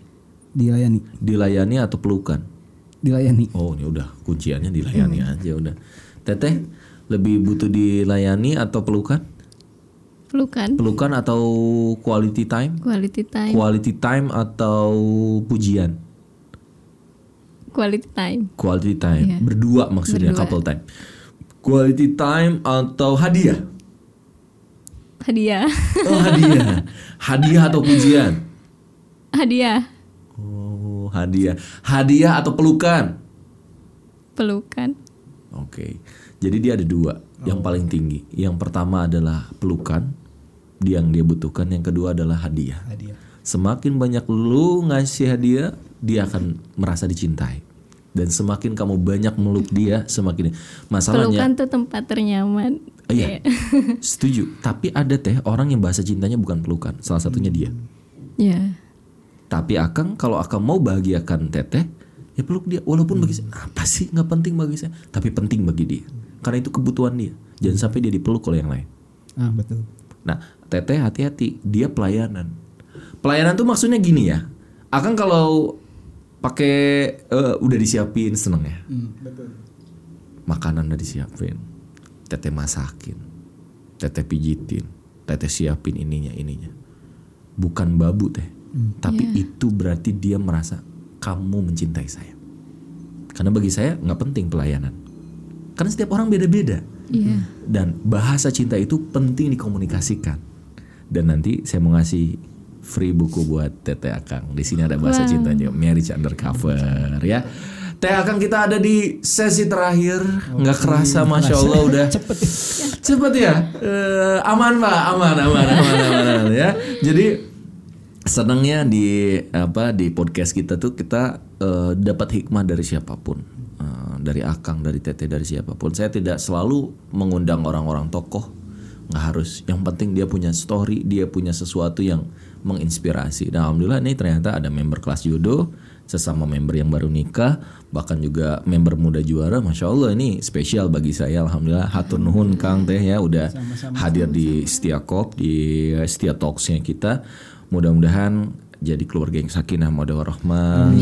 Speaker 1: Dilayani.
Speaker 2: Dilayani atau pelukan?
Speaker 1: Dilayani.
Speaker 2: Oh, ini udah kunciannya dilayani
Speaker 3: Hmm.
Speaker 2: aja udah. Teteh lebih butuh dilayani atau pelukan?
Speaker 3: pelukan
Speaker 2: Pelukan atau quality time?
Speaker 3: quality time
Speaker 2: Quality time atau pujian?
Speaker 3: quality time
Speaker 2: Quality time. Berdua maksudnya
Speaker 3: Berdua.
Speaker 2: couple time. Quality time atau hadiah?
Speaker 3: hadiah
Speaker 2: Oh, hadiah. Hadiah atau pujian?
Speaker 3: hadiah
Speaker 2: Oh, hadiah. Hadiah atau pelukan?
Speaker 3: pelukan
Speaker 2: Oke. Jadi dia ada dua yang paling tinggi. Yang pertama adalah pelukan dia yang dia butuhkan, yang kedua adalah hadiah.
Speaker 1: Hadiah.
Speaker 2: Semakin banyak lu ngasih hadiah, dia akan merasa dicintai. Dan semakin kamu banyak meluk dia, semakin masalahnya
Speaker 3: pelukan tuh tempat ternyaman
Speaker 2: Iya. Setuju. Tapi ada teh orang yang bahasa cintanya bukan pelukan. Salah satunya dia.
Speaker 3: ya
Speaker 2: Tapi Akang kalau Akang mau bahagiakan Teteh, ya peluk dia. Walaupun bagi saya apa sih nggak penting bagi saya, tapi penting bagi dia. Karena itu kebutuhan dia. Jangan sampai dia dipeluk oleh yang lain.
Speaker 1: Ah, betul.
Speaker 2: Nah, Teteh hati-hati, dia pelayanan. Pelayanan tuh maksudnya gini ya. Akang kalau pakai eh, udah disiapin seneng ya.
Speaker 1: betul.
Speaker 2: Makanan udah disiapin. Teteh masakin. Teteh pijitin. Teteh siapin ininya ininya. Bukan babu teh. Tapi itu berarti dia merasa kamu mencintai saya. Karena bagi saya nggak penting pelayanan. Karena setiap orang beda-beda.
Speaker 3: iya
Speaker 2: Dan bahasa cinta itu penting dikomunikasikan. Dan nanti saya mau ngasih free buku buat Teteh Akang. Di sini ada bahasa cinta juga, marriage undercover ya. Teh Akang kita ada di sesi terakhir. Nggak kerasa Masya Allah udah cepet. Cepet ya. Eh, aman Pak, aman aman aman aman, aman, ya. Jadi senangnya di apa di podcast kita tuh kita eh, dapat hikmah dari siapapun Eh, dari akang dari teteh dari siapapun saya tidak selalu mengundang orang-orang tokoh nggak harus yang penting dia punya story dia punya sesuatu yang menginspirasi nah alhamdulillah ini ternyata ada member kelas judo sesama member yang baru nikah bahkan juga member muda juara masya allah ini spesial bagi saya alhamdulillah hatur nuhun kang teh ya udah hadir di setia kop di setia talksnya kita Mudah-mudahan jadi keluarga yang sakinah mawaddah warahmah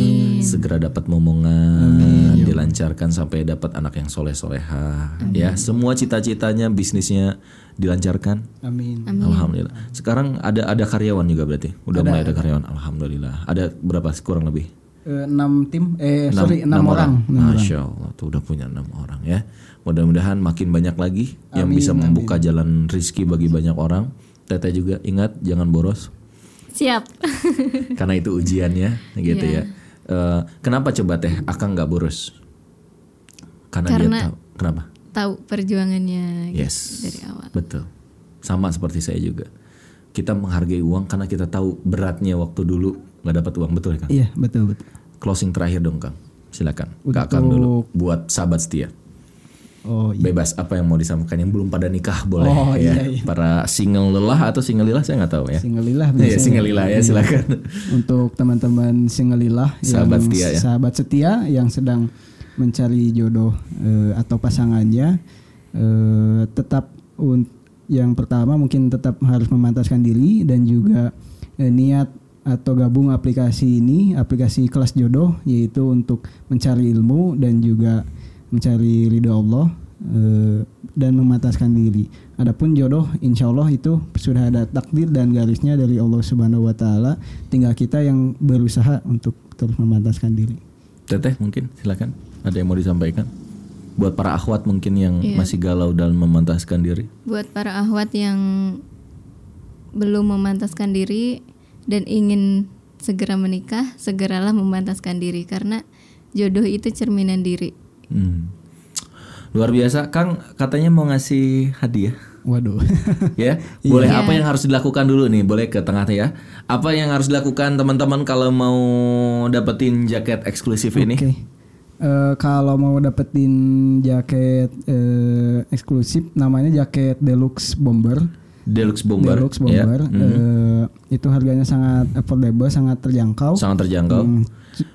Speaker 2: segera dapat momongan
Speaker 1: Iya.
Speaker 2: dilancarkan sampai dapat anak yang soleh soleha ya semua cita-citanya bisnisnya dilancarkan
Speaker 1: Amin.
Speaker 2: alhamdulillah sekarang ada ada karyawan juga berarti udah mulai ada karyawan alhamdulillah ada berapa sih kurang lebih
Speaker 1: 6 tim eh sorry 6 orang.
Speaker 2: Masya Allah tuh udah punya enam orang ya. Mudah-mudahan makin banyak lagi yang bisa membuka jalan rizki bagi banyak orang. Teteh juga ingat jangan boros
Speaker 3: Siap.
Speaker 2: karena itu ujiannya gitu ya. Eh, kenapa coba teh Akang nggak boros? Karena,
Speaker 3: Karena-
Speaker 2: dia tahu kenapa?
Speaker 3: Tahu perjuangannya.
Speaker 2: Yes.
Speaker 3: dari awal.
Speaker 2: Betul. Sama seperti saya juga. Kita menghargai uang karena kita tahu beratnya waktu dulu nggak dapat uang betul ya Kang?
Speaker 1: Iya, betul betul.
Speaker 2: Closing terakhir dong Kang. Silakan. Kak Kang dulu buat sahabat setia.
Speaker 1: Oh, iya.
Speaker 2: bebas apa yang mau disampaikan yang belum pada nikah boleh
Speaker 1: Oh,
Speaker 2: ya.
Speaker 1: iya, iya.
Speaker 2: para single lelah atau single lilah saya nggak tahu ya
Speaker 1: Singelilah
Speaker 2: Iya,
Speaker 1: biasanya.
Speaker 2: single lilah ya silakan
Speaker 1: Untuk teman-teman Singelilah
Speaker 2: Sahabat
Speaker 1: yang
Speaker 2: setia ya.
Speaker 1: sahabat setia yang sedang mencari jodoh eh, atau pasangannya eh, tetap un- yang pertama mungkin tetap harus memantaskan diri dan juga eh, niat atau gabung aplikasi ini aplikasi kelas jodoh yaitu untuk mencari ilmu dan juga mencari ridho Allah eh, dan memataskan diri. Adapun jodoh, insya Allah itu sudah ada takdir dan garisnya dari Allah Subhanahu Wa Taala. Tinggal kita yang berusaha untuk terus memataskan diri.
Speaker 2: teteh mungkin silakan ada yang mau disampaikan buat para akhwat mungkin yang
Speaker 1: Iya.
Speaker 2: masih galau dalam memantaskan diri
Speaker 3: Buat para ahwat yang belum memantaskan diri dan ingin segera menikah, segeralah memantaskan diri karena jodoh itu cerminan diri.
Speaker 2: Hmm. luar biasa kang katanya mau ngasih hadiah
Speaker 1: Waduh.
Speaker 2: ya
Speaker 1: Iya.
Speaker 2: boleh apa yang harus dilakukan dulu nih boleh ke tengah ya apa yang harus dilakukan teman-teman kalau mau dapetin jaket eksklusif ini
Speaker 1: Oke. Eh, kalau mau dapetin jaket eh, eksklusif, namanya jaket deluxe bomber.
Speaker 2: deluxe bomber
Speaker 1: Deluxe
Speaker 2: ya.
Speaker 1: bomber. Eh, itu harganya sangat affordable, sangat terjangkau.
Speaker 2: sangat terjangkau
Speaker 1: Hmm, c-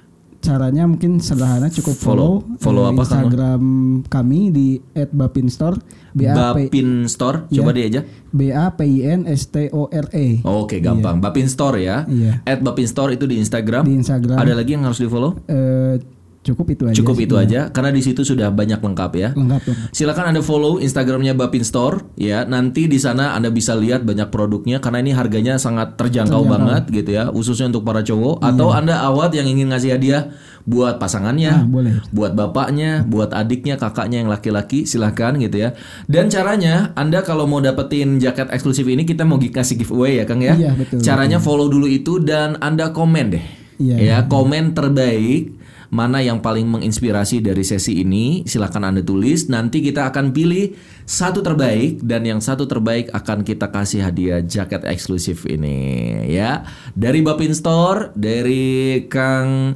Speaker 1: caranya mungkin sederhana cukup
Speaker 2: Follow.
Speaker 1: follow
Speaker 2: Follow
Speaker 1: eh,
Speaker 2: apa, Kang?
Speaker 1: Instagram kami di @bapinstore b a p Iya.
Speaker 2: Bapin Store, coba dia aja.
Speaker 1: b a p i n s t o r e
Speaker 2: Oke, gampang. Bapin Store ya.
Speaker 1: Iya.
Speaker 2: At Bapin Store itu di Instagram.
Speaker 1: di Instagram
Speaker 2: Ada lagi yang harus di-follow?
Speaker 1: Eh, cukup itu aja
Speaker 2: Cukup
Speaker 1: Iya sih.
Speaker 2: itu aja karena di situ sudah banyak lengkap ya.
Speaker 1: lengkap tuh
Speaker 2: Silakan Anda follow Instagramnya Bapin Store ya. Nanti di sana Anda bisa lihat banyak produknya karena ini harganya sangat terjangkau banget gitu ya, khususnya untuk para cowok
Speaker 1: Iya.
Speaker 2: atau Anda awat yang ingin ngasih hadiah buat pasangannya,
Speaker 1: Ah, boleh.
Speaker 2: buat bapaknya, buat adiknya, kakaknya yang laki-laki, silahkan gitu ya. Dan caranya, Anda kalau mau dapetin jaket eksklusif ini, kita mau gi- kasih giveaway ya, Kang ya.
Speaker 1: Iya, betul.
Speaker 2: caranya follow dulu itu dan Anda komen deh.
Speaker 1: Iya,
Speaker 2: ya, komen terbaik mana yang paling menginspirasi dari sesi ini, silahkan Anda tulis. Nanti kita akan pilih satu terbaik dan yang satu terbaik akan kita kasih hadiah jaket eksklusif ini ya. Dari Bapin Store, dari Kang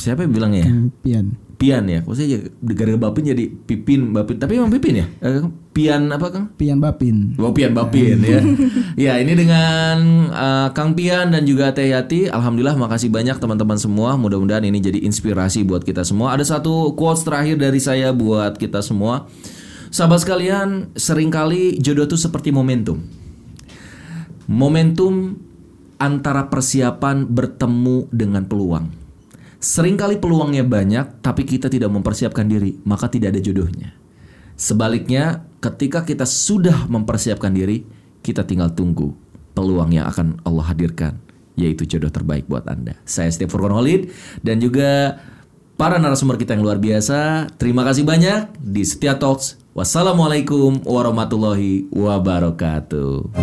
Speaker 2: siapa yang bilangnya? ya?
Speaker 1: pian
Speaker 2: Pian ya, kok saya jadi- gara-gara Bapin jadi Pipin Bapin, tapi emang Pipin ya? Eh, Pian apa Kang?
Speaker 1: pian bapin
Speaker 2: Oh, Pian Bapin ya. ya, ini dengan eh, Kang Pian dan juga Teh Yati. Alhamdulillah makasih banyak teman-teman semua. Mudah-mudahan ini jadi inspirasi buat kita semua. Ada satu quotes terakhir dari saya buat kita semua. Sahabat sekalian, seringkali jodoh itu seperti momentum. Momentum antara persiapan bertemu dengan peluang. Seringkali peluangnya banyak, tapi kita tidak mempersiapkan diri, maka tidak ada jodohnya. Sebaliknya, ketika kita sudah mempersiapkan diri, kita tinggal tunggu peluang yang akan Allah hadirkan, yaitu jodoh terbaik buat Anda. Saya Steve Furkon Holid, dan juga para narasumber kita yang luar biasa. Terima kasih banyak di Setia Talks. Wassalamualaikum warahmatullahi wabarakatuh.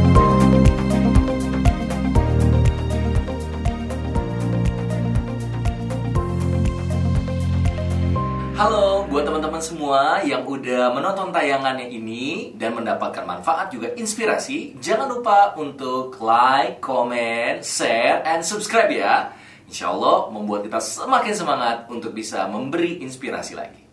Speaker 2: Halo, buat teman-teman semua yang udah menonton tayangannya ini dan mendapatkan manfaat juga inspirasi, jangan lupa untuk like, comment, share, and subscribe ya. Insya Allah membuat kita semakin semangat untuk bisa memberi inspirasi lagi.